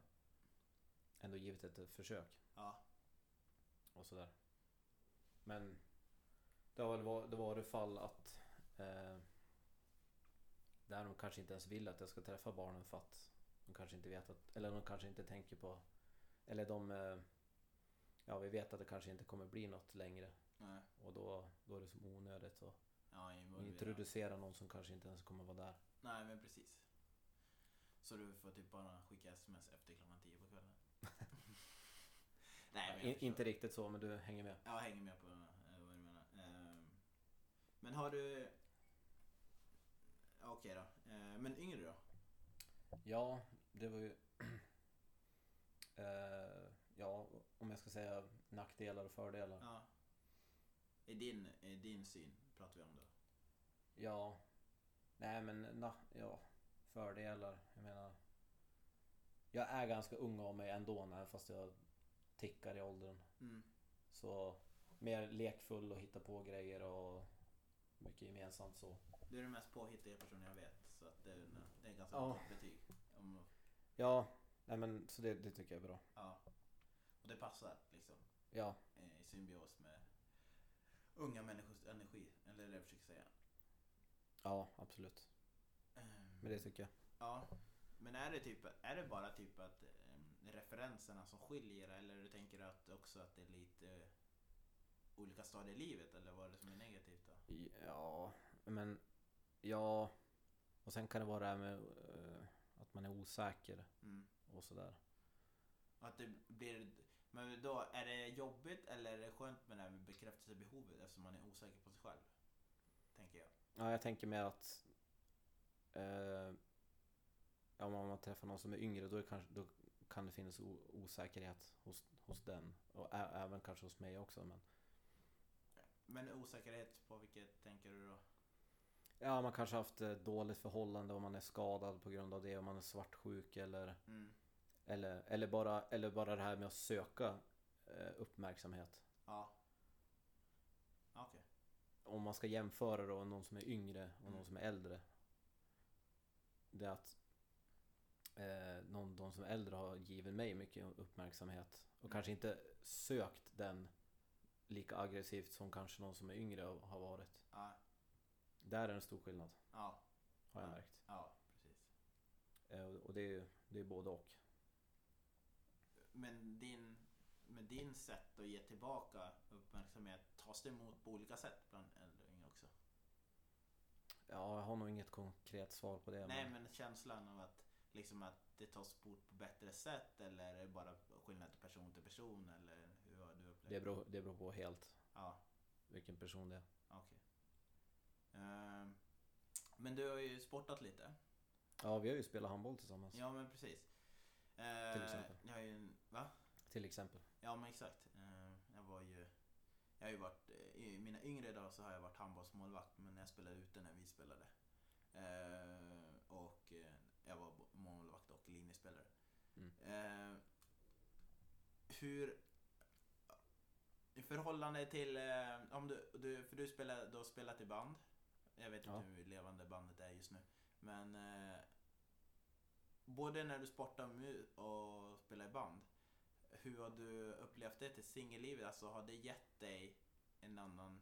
Speaker 2: ändå givit ett försök
Speaker 1: Ja.
Speaker 2: och sådär. Men det har väl varit, det var fall att eh, där de kanske inte ens vill att jag ska träffa barnen för att de kanske inte vet att, eller de kanske inte tänker på, eller de, eh, ja vi vet att det kanske inte kommer bli något längre
Speaker 1: Nej.
Speaker 2: och då, då är det som onödigt att
Speaker 1: Ja, involvera.
Speaker 2: introducera någon som kanske inte ens kommer vara där.
Speaker 1: Nej men precis. Så du får typ bara skicka sms efter klockan 10 på kvällen? Nej men jag
Speaker 2: In,
Speaker 1: förstår.
Speaker 2: inte riktigt så men du hänger med.
Speaker 1: Jag hänger med på eh, vad du menar. Ehm, Men har du... Okej då. Eh, Men yngre då?
Speaker 2: Ja, det var ju... Eh, ja, om jag ska säga nackdelar och fördelar.
Speaker 1: Ja. I din, i din syn pratar vi om då?
Speaker 2: Ja. Nej men, na, ja. Fördelar. Jag menar. Jag är ganska ung av mig ändå, när- fast jag tickar i åldern.
Speaker 1: Mm.
Speaker 2: Så mer lekfull och hitta på grejer och mycket gemensamt så.
Speaker 1: Du är den mest påhittiga personen jag vet. Så att det, är en- det är ett ganska
Speaker 2: Ja.
Speaker 1: gott betyg. Om,
Speaker 2: Ja, nej men så det, det tycker jag är bra.
Speaker 1: ja. Och det passar liksom.
Speaker 2: Ja,
Speaker 1: eh, i symbios med unga människors energi. Eller det jag försöker säga.
Speaker 2: ja absolut.
Speaker 1: Ehm,
Speaker 2: Men det tycker jag.
Speaker 1: Ja. Men är det, typ, är det bara typ att ehm, referenserna som skiljer eller du tänker att också att det är lite eh, olika stadier i livet eller vad är det som är negativt då?
Speaker 2: Ja, men ja. Och sen kan det vara det här med eh, att man är osäker
Speaker 1: Mm.
Speaker 2: och sådär.
Speaker 1: Och Att det blir, men då är det jobbigt eller är det skönt med det här med bekräftelsebehovet eftersom man är osäker på sig själv? Tänker jag.
Speaker 2: Ja, jag tänker mer att eh, ja, men om man träffar någon som är yngre då, är kanske, då kan det finnas o- osäkerhet hos, hos den. Och ä- även kanske hos mig också. Men,
Speaker 1: Men osäkerhet på vilket tänker du då?
Speaker 2: ja, man kanske haft eh, dåligt förhållande om man är skadad på grund av det. Om man är svartsjuk eller,
Speaker 1: Mm.
Speaker 2: eller, eller, bara, eller bara det här med att söka eh, uppmärksamhet.
Speaker 1: Ja. Ja, Okej.
Speaker 2: om man ska jämföra då någon som är yngre och
Speaker 1: Mm.
Speaker 2: någon som är äldre. Det är att eh, någon, de som är äldre har givit mig mycket uppmärksamhet. Och
Speaker 1: Mm.
Speaker 2: kanske inte sökt den lika aggressivt som kanske någon som är yngre har har varit.
Speaker 1: Ja.
Speaker 2: Där är en stor skillnad,
Speaker 1: Ja.
Speaker 2: har jag
Speaker 1: Ja.
Speaker 2: märkt.
Speaker 1: Ja, precis.
Speaker 2: Eh, och- och det är ju det är både och.
Speaker 1: Men din, men din sätt att ge tillbaka uppmärksamhet tas det emot på olika sätt bland äldre och yngre också?
Speaker 2: Ja, jag har nog inget konkret svar på det.
Speaker 1: Nej,
Speaker 2: men,
Speaker 1: men känslan av att liksom att det tas bort på bättre sätt eller är det bara skillnad till person till person eller hur har du upplevt
Speaker 2: Det beror, det beror på helt
Speaker 1: Ja,
Speaker 2: vilken person det är.
Speaker 1: okej. Ehm, men du har ju sportat lite.
Speaker 2: Ja, vi har ju spelat handboll tillsammans.
Speaker 1: Ja, men precis. Ehm,
Speaker 2: Alltså. Till exempel.
Speaker 1: Jag har ju en, va?
Speaker 2: Till exempel.
Speaker 1: Ja, men exakt. Ehm, jag var ju... Jag har ju varit, eh, I mina yngre dagar så har jag varit handbollsmålvakt, men jag spelade ute när vi spelade. Ehm, och eh, jag var bo- målvakt och linjespelare.
Speaker 2: Mm.
Speaker 1: Ehm, hur... I förhållande till... eh, om du, du, för du, spelar, du har spelat i band. Jag vet
Speaker 2: Ja.
Speaker 1: inte hur levande bandet är just nu. Men... Eh, både när du sportar mu- och spelar i band. Hur har du upplevt det till singellivet? Alltså har det gett dig en annan...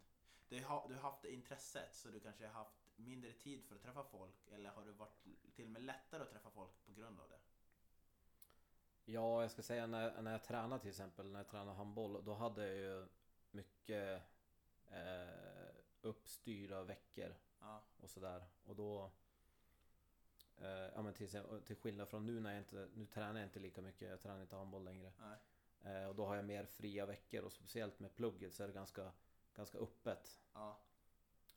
Speaker 1: Du har, du har haft det intresset så du kanske har haft mindre tid för att träffa folk eller har det varit till och med lättare att träffa folk på grund av det?
Speaker 2: Ja, jag ska säga när, när jag tränade till exempel, när jag tränade handboll, då hade jag ju mycket eh, uppstyrda veckor
Speaker 1: Ja,
Speaker 2: och sådär. Och då... Eh, ja, men till, exempel- till skillnad från nu när jag inte... Nu tränar jag inte lika mycket, jag tränar inte handboll längre.
Speaker 1: nej.
Speaker 2: Eh, och då har jag mer fria veckor och speciellt med plugget så är det ganska, ganska öppet.
Speaker 1: Ja,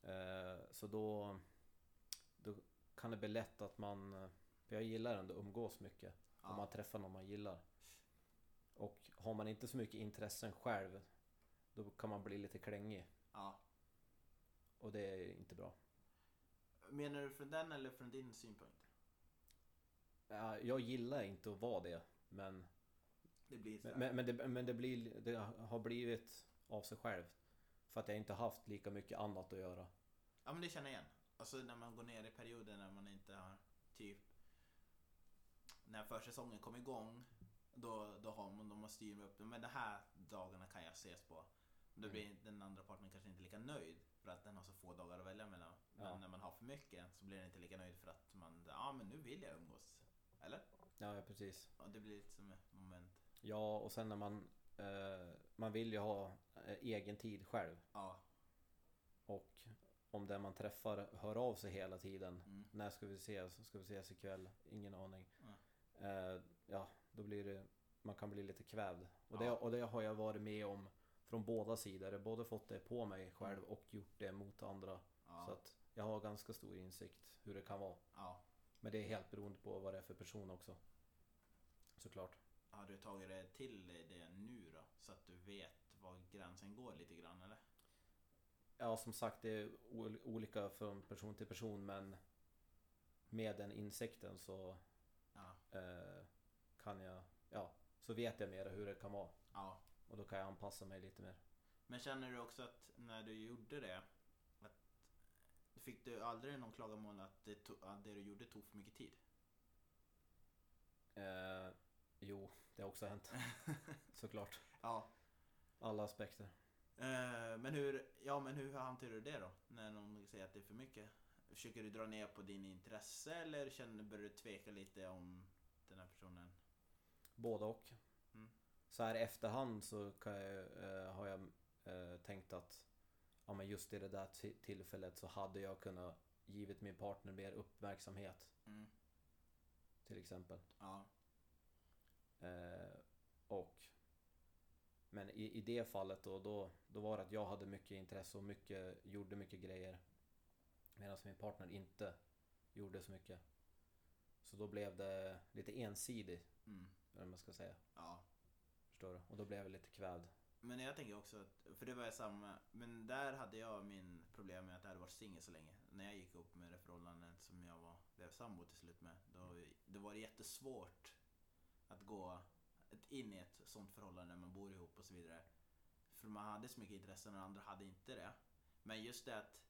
Speaker 2: Eh, så då, då kan det bli lätt att man... eh, För jag gillar ändå att umgås mycket.
Speaker 1: ja.
Speaker 2: Om man träffar någon man gillar. Och har man inte så mycket intressen själv då kan man bli lite klängig.
Speaker 1: ja.
Speaker 2: Och det är inte bra.
Speaker 1: Menar du från den eller från din synpunkt?
Speaker 2: Ja, Jag gillar inte att vara det. Men
Speaker 1: Det blir så här.
Speaker 2: Men, men, det, men det, blir, det har blivit av sig självt. För att jag inte haft lika mycket annat att göra.
Speaker 1: Ja men det känner jag igen. Alltså när man går ner i perioder när man inte har typ när försäsongen kom igång då, då har man, de har styr upp men de här dagarna kan jag ses på.
Speaker 2: Mm.
Speaker 1: Då blir den andra parten kanske inte lika nöjd för att den har så få dagar att välja mellan. Men
Speaker 2: Ja.
Speaker 1: när man har för mycket så blir den inte lika nöjd för att man, ja men nu vill jag umgås. Eller?
Speaker 2: Ja, ja, precis.
Speaker 1: Ja, det blir lite som ett moment.
Speaker 2: Ja, och sen när man... Eh, man vill ju ha eh, egen tid själv.
Speaker 1: Ja,
Speaker 2: Och om den man träffar hör av sig hela tiden.
Speaker 1: Mm.
Speaker 2: När ska vi ses? Ska vi ses ikväll? Ingen aning.
Speaker 1: Mm.
Speaker 2: Eh, ja, då blir det... Man kan bli lite kvävd. Och det,
Speaker 1: Ja.
Speaker 2: och det har jag varit med om från båda sidor. Jag har både fått det på mig själv och gjort det mot andra. Så
Speaker 1: Mm. ja,
Speaker 2: att jag har ganska stor insikt hur det kan vara.
Speaker 1: ja.
Speaker 2: Men det är helt beroende på vad det är för person också. Såklart.
Speaker 1: Har du tagit det till dig det nu då? Så att du vet var gränsen går lite grann eller?
Speaker 2: Ja, som sagt, det är ol- olika från person till person men med den insikten så
Speaker 1: Ja.
Speaker 2: eh, kan jag, ja, så vet jag mer hur det kan vara.
Speaker 1: Ja.
Speaker 2: Och då kan jag anpassa mig lite mer.
Speaker 1: Men känner du också att när du gjorde det att Fick du aldrig någon klagomål att det, to- att det du gjorde tog för mycket tid?
Speaker 2: Eh, jo, det har också hänt. Såklart.
Speaker 1: Ja.
Speaker 2: Alla aspekter.
Speaker 1: Eh, men, hur, ja men hur hanterar du det då? När någon säger att det är för mycket? Försöker du dra ner på din intresse eller känner, börjar du tveka lite om den här personen?
Speaker 2: Både och.
Speaker 1: Mm.
Speaker 2: Så här i efterhand så kan jag, eh, har jag eh, tänkt att ja, men just i det där ti- tillfället så hade jag kunnat givit min partner mer uppmärksamhet
Speaker 1: Mm.
Speaker 2: till exempel.
Speaker 1: Ja.
Speaker 2: Eh, och men i, i det fallet då, då, då var det att jag hade mycket intresse och mycket, gjorde mycket grejer. Medan min partner inte gjorde så mycket. Så då blev det lite ensidigt,
Speaker 1: Mm.
Speaker 2: eller vad man ska säga.
Speaker 1: Ja.
Speaker 2: Förstår du? Och då blev jag lite kvävd.
Speaker 1: Men jag tänker också att, för det var jag samma, men där hade jag min problem med att jag hade varit singel så länge. När jag gick upp med det förhållandet som jag var, blev sambo till slut med, då, då var det jättesvårt att gå ett- in i ett sånt förhållande när man bor ihop och så vidare. För man hade så mycket intressen och andra hade inte det. Men just det att,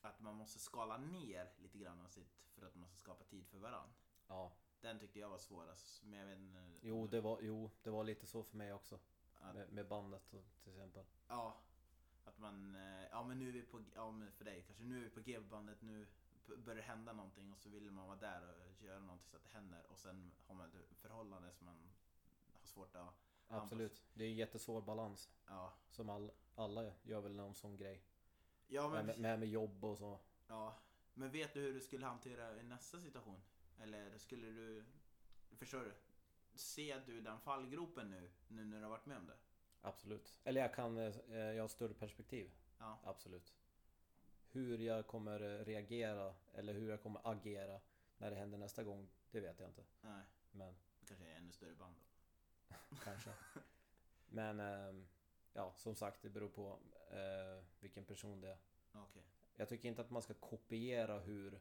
Speaker 1: att man måste skala ner lite grann av sitt för att man ska skapa tid för varandra.
Speaker 2: Ja,
Speaker 1: Den tyckte jag var svårast, men jag vet inte... om
Speaker 2: Jo,
Speaker 1: du-
Speaker 2: det var, jo, det var lite så för mig också.
Speaker 1: Ja.
Speaker 2: Med, med bandet och, till exempel.
Speaker 1: Ja. Att man, eh, ja men nu är vi på, ja men för dig kanske, nu är vi på G-bandet, nu b- börjar det hända någonting och så vill man vara där och göra någonting så att det händer och sen har man ett förhållande som man har svårt att,
Speaker 2: Absolut. Det är en jättesvår balans.
Speaker 1: ja.
Speaker 2: Som all, alla gör väl någon sån grej.
Speaker 1: Ja men,
Speaker 2: Med, med, med jobb och så.
Speaker 1: ja. Men vet du hur du skulle hantera i nästa situation? Eller skulle du Förstår du? Ser du den fallgropen nu, nu när du har varit med om det?
Speaker 2: Absolut. Eller jag kan, eh, jag har ett större perspektiv.
Speaker 1: Ja.
Speaker 2: Absolut. Hur jag kommer eh, reagera eller hur jag kommer agera när det händer nästa gång, det vet jag inte.
Speaker 1: Nej,
Speaker 2: Men
Speaker 1: det kanske är ännu större band då.
Speaker 2: kanske. Men ehm, ja, som sagt, det beror på eh, vilken person det är.
Speaker 1: Okej.
Speaker 2: Jag tycker inte att man ska kopiera hur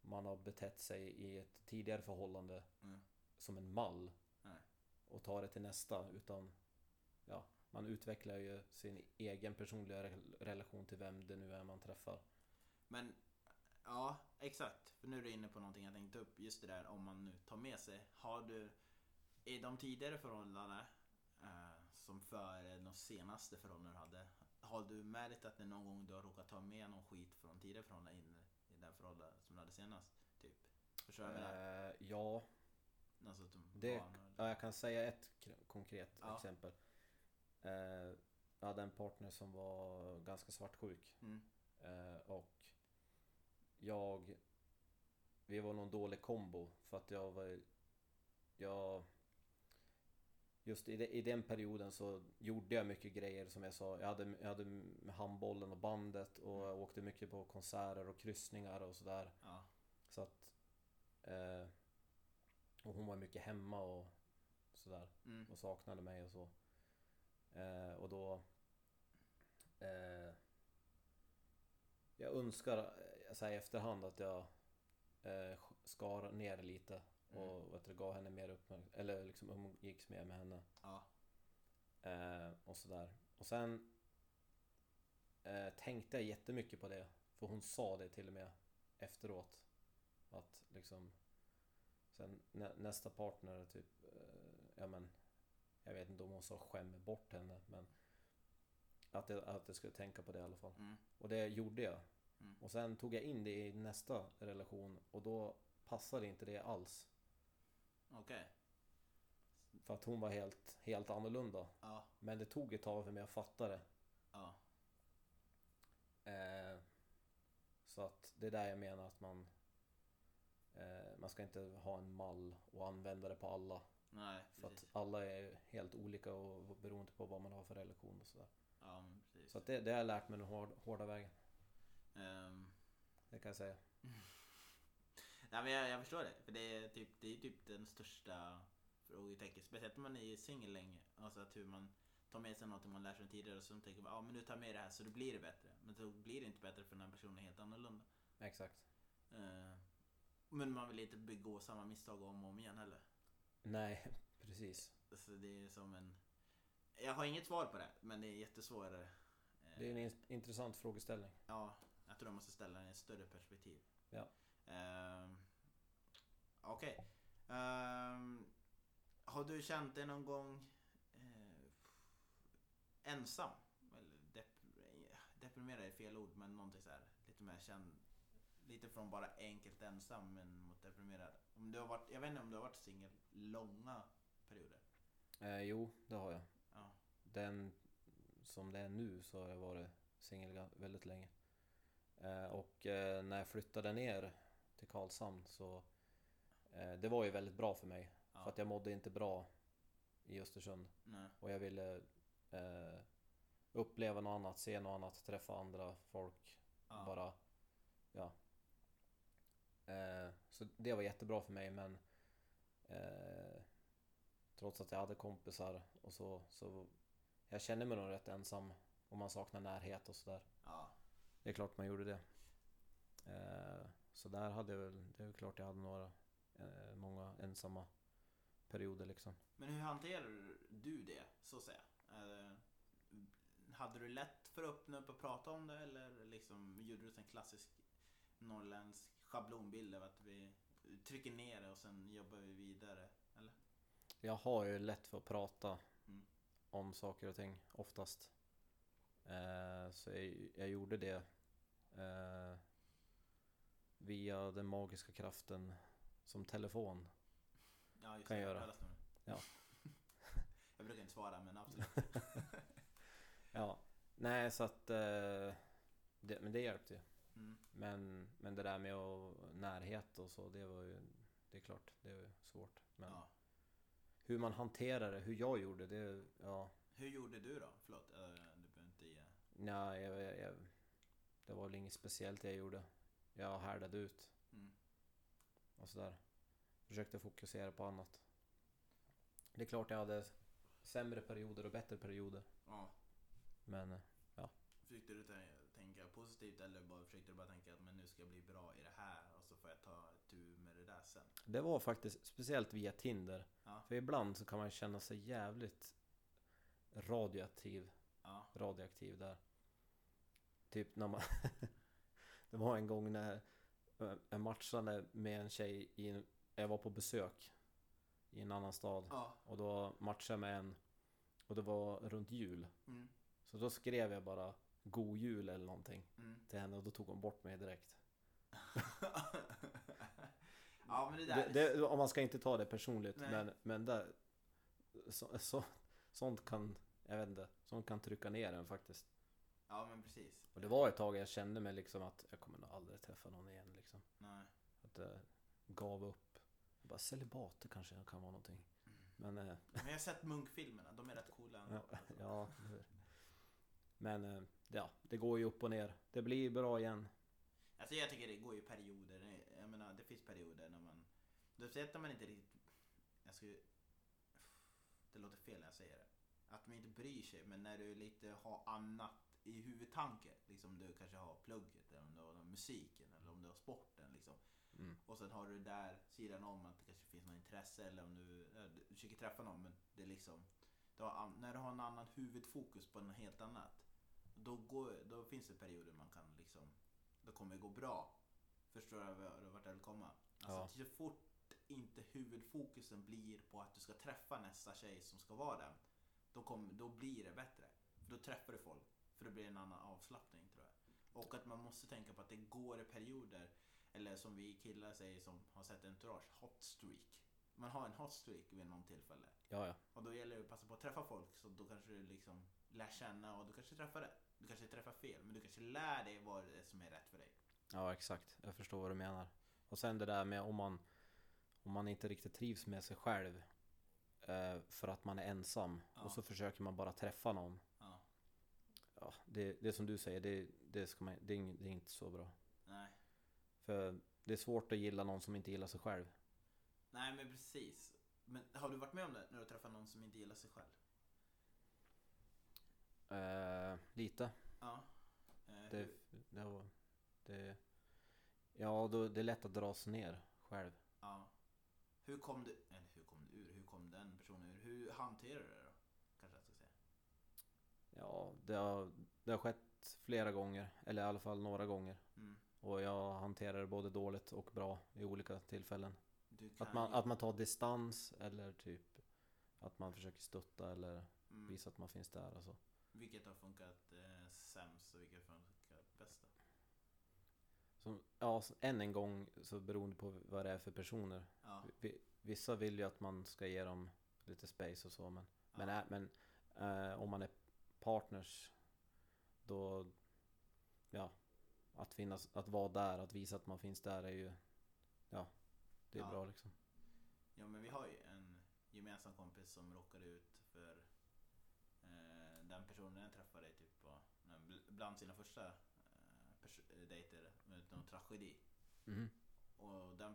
Speaker 2: man har betett sig i ett tidigare förhållande
Speaker 1: Mm.
Speaker 2: som en mall
Speaker 1: Nej.
Speaker 2: och ta det till nästa utan ja, man utvecklar ju sin egen personliga re- relation till vem det nu är man träffar.
Speaker 1: Men ja, exakt. För nu är du inne på någonting jag tänkte upp. Just det där om man nu tar med sig. Har du i de tidigare förhållandena eh, som före de senaste förhållanden du hade. Har du märkt att det någon gång du har råkat ta med någon skit från tidigare förhållanden in i det här förhållandet som du hade senast? Typ. Förstår du vad jag menar?
Speaker 2: Eh, ja,
Speaker 1: Alltså att de
Speaker 2: det-
Speaker 1: barn och-
Speaker 2: ja, jag kan säga ett kr- konkret
Speaker 1: Ja.
Speaker 2: exempel. Eh, jag hade en partner som var ganska svartsjuk
Speaker 1: Mm.
Speaker 2: eh, och jag... Vi var någon dålig kombo för att jag var... Jag... Just i, de, i den perioden så gjorde jag mycket grejer som jag sa. Jag hade, jag hade med handbollen och bandet och
Speaker 1: Mm.
Speaker 2: jag åkte mycket på konserter och kryssningar och sådär.
Speaker 1: Ja.
Speaker 2: Så att... Eh, och hon var mycket hemma och sådär
Speaker 1: Mm.
Speaker 2: och saknade mig och så. Eh, och då... Eh, jag önskar eh, så här i efterhand att jag eh, skar ner lite och
Speaker 1: Mm.
Speaker 2: vet du, gav henne mer uppmärksamhet, eller liksom umgicks mer med henne.
Speaker 1: Ja.
Speaker 2: Eh, och sådär. Och sen eh, tänkte jag jättemycket på det. För hon sa det till och med efteråt. Att liksom sen nä, nästa partner typ, eh, ja men jag vet inte om hon sa skäm bort henne men att jag, att jag skulle tänka på det i alla fall.
Speaker 1: Mm.
Speaker 2: Och det gjorde jag.
Speaker 1: Mm.
Speaker 2: Och sen tog jag in det i nästa relation och då passade inte det alls.
Speaker 1: Mm. Okej.
Speaker 2: För att hon var helt, helt annorlunda.
Speaker 1: Ja.
Speaker 2: Men det tog ett tag för mig att fatta det.
Speaker 1: Ja.
Speaker 2: Eh, så att det är där jag menar att man eh, man ska inte ha en mall och använda det på alla.
Speaker 1: Nej,
Speaker 2: För att
Speaker 1: precis.
Speaker 2: alla är helt olika och beroende på vad man har för relation och sådär.
Speaker 1: Ja, men precis.
Speaker 2: Så att det, det har jag lärt mig den hård, hårda vägen.
Speaker 1: Ehm,
Speaker 2: Det kan jag säga.
Speaker 1: Nej men jag, jag förstår det. För det är typ, det är typ den största frågetecknet. Speciellt om man är singel länge. Alltså att hur man tar med sig någonting man lär sig tidigare och så tänker man ah, men nu tar jag med det här så då blir det bättre. Men då blir det inte bättre för den här personen är helt annorlunda.
Speaker 2: Exakt.
Speaker 1: Eh, men man vill inte begå samma misstag om och om igen heller.
Speaker 2: Nej, precis.
Speaker 1: Så det är som en... Jag har inget svar på det, men det är jättesvår. eh,
Speaker 2: Det är en in- intressant frågeställning.
Speaker 1: Ja, jag tror de måste ställa den i ett större perspektiv.
Speaker 2: Ja.
Speaker 1: Ehm, Okej. Ehm, har du känt dig någon gång eh, ensam? Eller dep- deprimerad är fel ord, men någonting så här. Lite mer känd. Lite från bara enkelt ensam men mot deprimerad. Om du har varit, jag vet inte om du har varit singel långa perioder?
Speaker 2: Eh, jo, det har jag.
Speaker 1: Ja.
Speaker 2: Den som det är nu så har jag varit singel ga- väldigt länge. Eh, och eh, när jag flyttade ner till Karlshamn så eh, det var ju väldigt bra för mig.
Speaker 1: Ja.
Speaker 2: För att jag mådde inte bra i Östersund
Speaker 1: Nej.
Speaker 2: och jag ville eh, uppleva något annat, se något annat, träffa andra folk
Speaker 1: Ja.
Speaker 2: bara, ja. Eh, så det var jättebra för mig men eh, trots att jag hade kompisar och så, så jag kände mig nog rätt ensam och man saknar närhet och sådär.
Speaker 1: Ja.
Speaker 2: Det är klart man gjorde det. Eh, så där hade jag väl, det är väl klart jag hade några, eh, många ensamma perioder liksom.
Speaker 1: Men hur hanterar du det, så att säga? Eh, Hade du lätt för att öppna upp och prata om det eller liksom gjorde du en klassisk norrländsk schablonbild av att vi trycker ner det och sen jobbar vi vidare? Eller?
Speaker 2: Jag har ju lätt för att prata
Speaker 1: Mm.
Speaker 2: om saker och ting oftast. Eh, så jag, jag gjorde det eh, via den magiska kraften som telefon.
Speaker 1: Ja, just
Speaker 2: Kan jag göra.
Speaker 1: kallas det.
Speaker 2: Ja.
Speaker 1: jag brukar inte svara men absolut.
Speaker 2: Ja, nej så att eh, det, men det hjälpte ju.
Speaker 1: Mm.
Speaker 2: Men, men det där med att, närhet och så, det var ju det är klart, det är svårt. Men
Speaker 1: Ja.
Speaker 2: hur man hanterar det, hur jag gjorde det, ja.
Speaker 1: Hur gjorde du då? Förlåt, eh, du behöver inte ge...
Speaker 2: Nej, jag, jag, jag, det var väl inget speciellt jag gjorde. Jag härdade ut
Speaker 1: Mm.
Speaker 2: och sådär. Försökte fokusera på annat. Det är klart jag hade sämre perioder och bättre perioder.
Speaker 1: Ja.
Speaker 2: Men eh,
Speaker 1: Försökte du tän- tänka positivt eller bara, försökte du bara tänka att men nu ska jag bli bra i det här och så får jag ta tur med det där sen?
Speaker 2: det var faktiskt speciellt via Tinder.
Speaker 1: Ja.
Speaker 2: För ibland så kan man känna sig jävligt radioaktiv,
Speaker 1: Ja.
Speaker 2: radioaktiv där. Typ när man... det var en gång när eh, jag matchade med en tjej i en, Jag var på besök i en annan stad.
Speaker 1: Ja.
Speaker 2: Och då matchade jag med en och det var runt jul.
Speaker 1: Mm.
Speaker 2: Så då skrev jag bara God Jul eller någonting
Speaker 1: Mm.
Speaker 2: till henne och då tog hon bort mig direkt.
Speaker 1: ja, men det där...
Speaker 2: Det, det, om man ska inte ta det personligt
Speaker 1: Nej.
Speaker 2: men, men där, så, så, sånt kan, jag vet inte, sånt kan trycka ner en faktiskt.
Speaker 1: Ja, men precis.
Speaker 2: Och det var ett tag jag kände mig liksom att jag kommer nog aldrig träffa någon igen liksom.
Speaker 1: Nej.
Speaker 2: Att jag gav upp. Jag bara celibater kanske kan vara någonting. Men eh,
Speaker 1: Men jag har sett munkfilmerna, de är rätt coola ändå.
Speaker 2: Ja, ja. eller hur. Men eh, ja, det går ju upp och ner. Det blir bra igen.
Speaker 1: Alltså jag tycker det går ju perioder. Det- Jag menar det finns perioder när man... Speciellt när man inte riktigt... Jag ska ju... Det låter fel när jag säger det. Att man inte bryr sig men när du lite har annat i huvudtanke. Liksom du kanske har plugget eller om du har musiken eller om du har sporten liksom.
Speaker 2: Mm.
Speaker 1: Och sen har du det där sidan om att det kanske finns något intresse eller om du, ja, du försöker träffa någon men det är liksom... Du har, an- när du har en annan huvudfokus på något helt annat. Då, går, då finns det perioder man kan liksom det kommer gå bra. Förstår du vad- vart jag vill komma? Alltså
Speaker 2: Ja.
Speaker 1: så fort inte huvudfokusen blir på att du ska träffa nästa tjej som ska vara den. Då, kom, då blir det bättre. För då träffar du folk. För det blir en annan avslappning tror jag. Och att man måste tänka på att det går i perioder. Eller som vi killar säger som har sett entourage, hot streak. Man har en hot streak vid någon tillfälle.
Speaker 2: Ja, ja.
Speaker 1: Och då gäller det att passa på att träffa folk så då kanske du liksom lär känna och du kanske träffar rätt. Du kanske träffar fel men du kanske lär dig vad det är som är rätt för dig.
Speaker 2: Ja, exakt. Jag förstår vad du menar. Och sen det där med om man, om man inte riktigt trivs med sig själv eh, för att man är ensam
Speaker 1: Ja.
Speaker 2: och så försöker man bara träffa någon.
Speaker 1: Ja.
Speaker 2: Ja, det, det är som du säger, det, det, ska man, det, är ing- det är inte så bra.
Speaker 1: Nej.
Speaker 2: För det är svårt att gilla någon som inte gillar sig själv.
Speaker 1: Nej men precis. Men har du varit med om det när du träffar någon som inte gillar sig själv?
Speaker 2: Eh, lite.
Speaker 1: Ja. Eh,
Speaker 2: Det,
Speaker 1: hur-
Speaker 2: det, var- det, ja, då, det är lätt att dras ner själv.
Speaker 1: ja. Hur kom du, eller hur kom du ur? Hur kom den personen ur? Hur hanterar du det då? Kanske jag ska säga.
Speaker 2: Ja, det har, det har skett flera gånger, eller i alla fall några gånger.
Speaker 1: Mm.
Speaker 2: Och jag hanterar det både dåligt och bra i olika tillfällen.
Speaker 1: Du kan
Speaker 2: Att man,
Speaker 1: ju-
Speaker 2: att man tar distans eller typ att man försöker stötta eller
Speaker 1: mm.
Speaker 2: visa att man finns där och så.
Speaker 1: Vilket har funkat eh, sämst och vilket har funkat bäst? då?
Speaker 2: så ja, så än en gång så beroende på vad det är för personer.
Speaker 1: Ja.
Speaker 2: Vi- Vissa vill ju att man ska ge dem lite space och så men, men,
Speaker 1: ja.
Speaker 2: ä- men eh, om man är partners då, ja, att finnas, att vara där, att visa att man finns där är ju, ja, det är
Speaker 1: Ja.
Speaker 2: bra liksom.
Speaker 1: Ja men vi har ju en gemensam kompis som råkade ut för eh, den personen jag träffade typ på, bl- bland sina första eh, pers- dejter med någon tragedi.
Speaker 2: Mhm.
Speaker 1: Och den,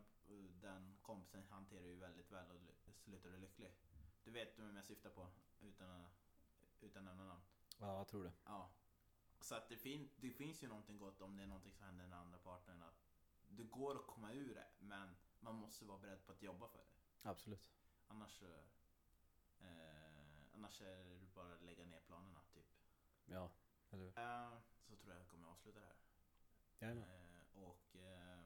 Speaker 1: den kompisen hanterar ju väldigt väl och ly- slutade lycklig. Du vet vem jag syftar på utan att utan att nämna namn.
Speaker 2: Ja, jag tror det.
Speaker 1: Ja. Så att det, fin- det finns ju någonting gott om det är någonting som händer den andra partnern. Att det går att komma ur det men man måste vara beredd på att jobba för det.
Speaker 2: Absolut.
Speaker 1: Annars, så, eh, annars är det bara att lägga ner planerna typ.
Speaker 2: Ja, eller hur?
Speaker 1: Eh, så tror jag jag kommer avsluta det här.
Speaker 2: Jajamän.
Speaker 1: Eh, och eh,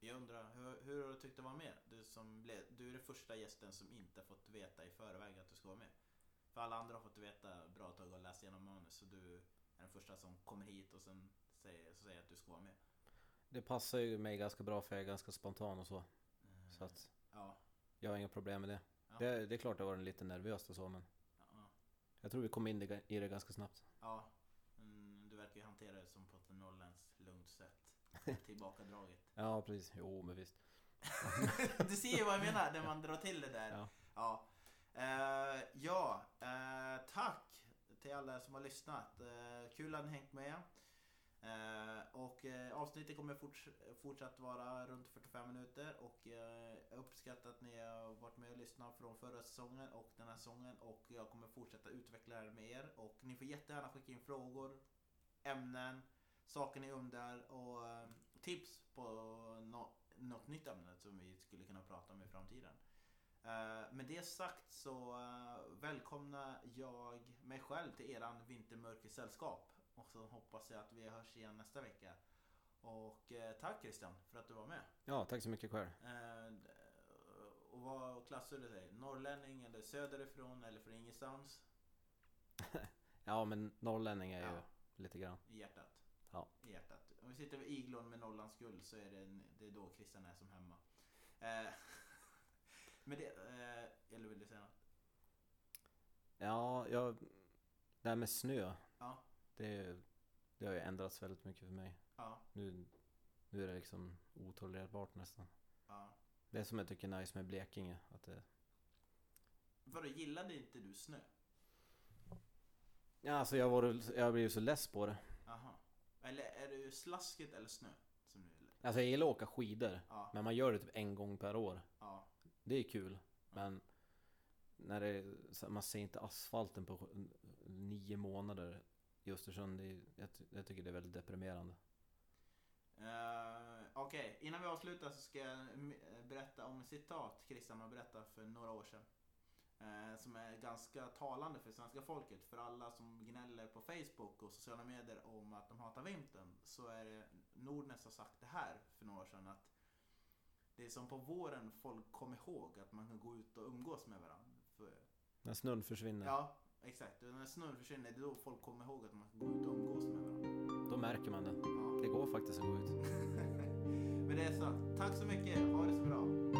Speaker 1: jag undrar, hur, hur har du tyckt att vara med? Du, som blev, du är den första gästen som inte fått veta i förväg att du ska vara med. För alla andra har fått veta bra tag och läst igenom manus. Så du är den första som kommer hit och sen säger, så säger att du ska vara med.
Speaker 2: Det passar ju mig ganska bra för jag är ganska spontan och så.
Speaker 1: Eh,
Speaker 2: Så att
Speaker 1: Ja.
Speaker 2: jag har inga problem med det.
Speaker 1: Ja.
Speaker 2: Det, det är klart det var lite nervöst och så men
Speaker 1: ja.
Speaker 2: jag tror vi kom in i- i det ganska snabbt.
Speaker 1: Ja, mm, du verkar ju hantera det som på ett norrländskt lugnt sätt. Tillbakadraget.
Speaker 2: Ja, precis. Jo, men visst.
Speaker 1: du ser ju vad jag menar när man drar till det där.
Speaker 2: Ja.
Speaker 1: Ja, Eh, ja eh, tack till alla som har lyssnat. Eh, kul att ni hängt med. Eh, och eh, avsnittet kommer forts fortsatt vara runt 45 minuter och eh, jag uppskattar att ni har varit med och lyssnat från förra säsongen och den här säsongen och jag kommer fortsätta utveckla det här med er och ni får jättegärna skicka in frågor, ämnen, saker ni undrar och eh, tips på nå- något nytt ämne som vi skulle kunna prata om i framtiden. Eh, Med det sagt så eh, välkomnar jag mig själv till eran vintermörkersällskap. Och så hoppas jag att vi hörs igen nästa vecka. Och eh, tack Christian för att du var med.
Speaker 2: Ja, tack så mycket själv.
Speaker 1: Eh, Och vad klassar du dig? Norrlänning eller söderifrån eller från ingenstans?
Speaker 2: Ja, men norrlänning är ju
Speaker 1: Ja.
Speaker 2: lite grann.
Speaker 1: I hjärtat.
Speaker 2: Ja.
Speaker 1: I hjärtat. Om vi sitter vid iglon med Norrlands guld så är det, en, det är då Christian är som hemma. Eh, Men det, eh, eller vill du säga något?
Speaker 2: Ja, jag... Det här med snö.
Speaker 1: Ja.
Speaker 2: Det, det har ju ändrats väldigt mycket för mig.
Speaker 1: Ja,
Speaker 2: Nu, nu är det liksom otolererbart nästan.
Speaker 1: ja.
Speaker 2: Det är som jag tycker är nice med Blekinge. Att det,
Speaker 1: Vadå, gillade inte du snö?
Speaker 2: ja, alltså jag, var, jag har blivit så less på det.
Speaker 1: Aha. Eller är det slasket eller snö? Som du gillar?
Speaker 2: Alltså jag gillar att åka skidor.
Speaker 1: Ja,
Speaker 2: Men man gör det typ en gång per år.
Speaker 1: ja,
Speaker 2: Det är kul. Men när det, är- så- man ser inte asfalten på nio månader i Östersund. Det är, jag, ty- jag tycker det är väldigt deprimerande.
Speaker 1: Eh, Okej, innan vi avslutar så ska jag mm, berätta om ett citat Christian har berättat för några år sedan. Eh, som är ganska talande för svenska folket. För alla som gnäller på Facebook och sociala medier om att de hatar vintern. Så är det Nordnäs har sagt det här för några år sedan. Att det är som på våren folk kommer ihåg att man kan gå ut och umgås med varandra. För
Speaker 2: När snön försvinner,
Speaker 1: Ja, exakt. Och när snön försvinner, det är då folk kommer ihåg att man ska gå ut och umgås med varandra.
Speaker 2: då märker man det.
Speaker 1: Ja.
Speaker 2: Det går faktiskt att gå ut.
Speaker 1: Men det är så. Tack så mycket. Ha det så bra.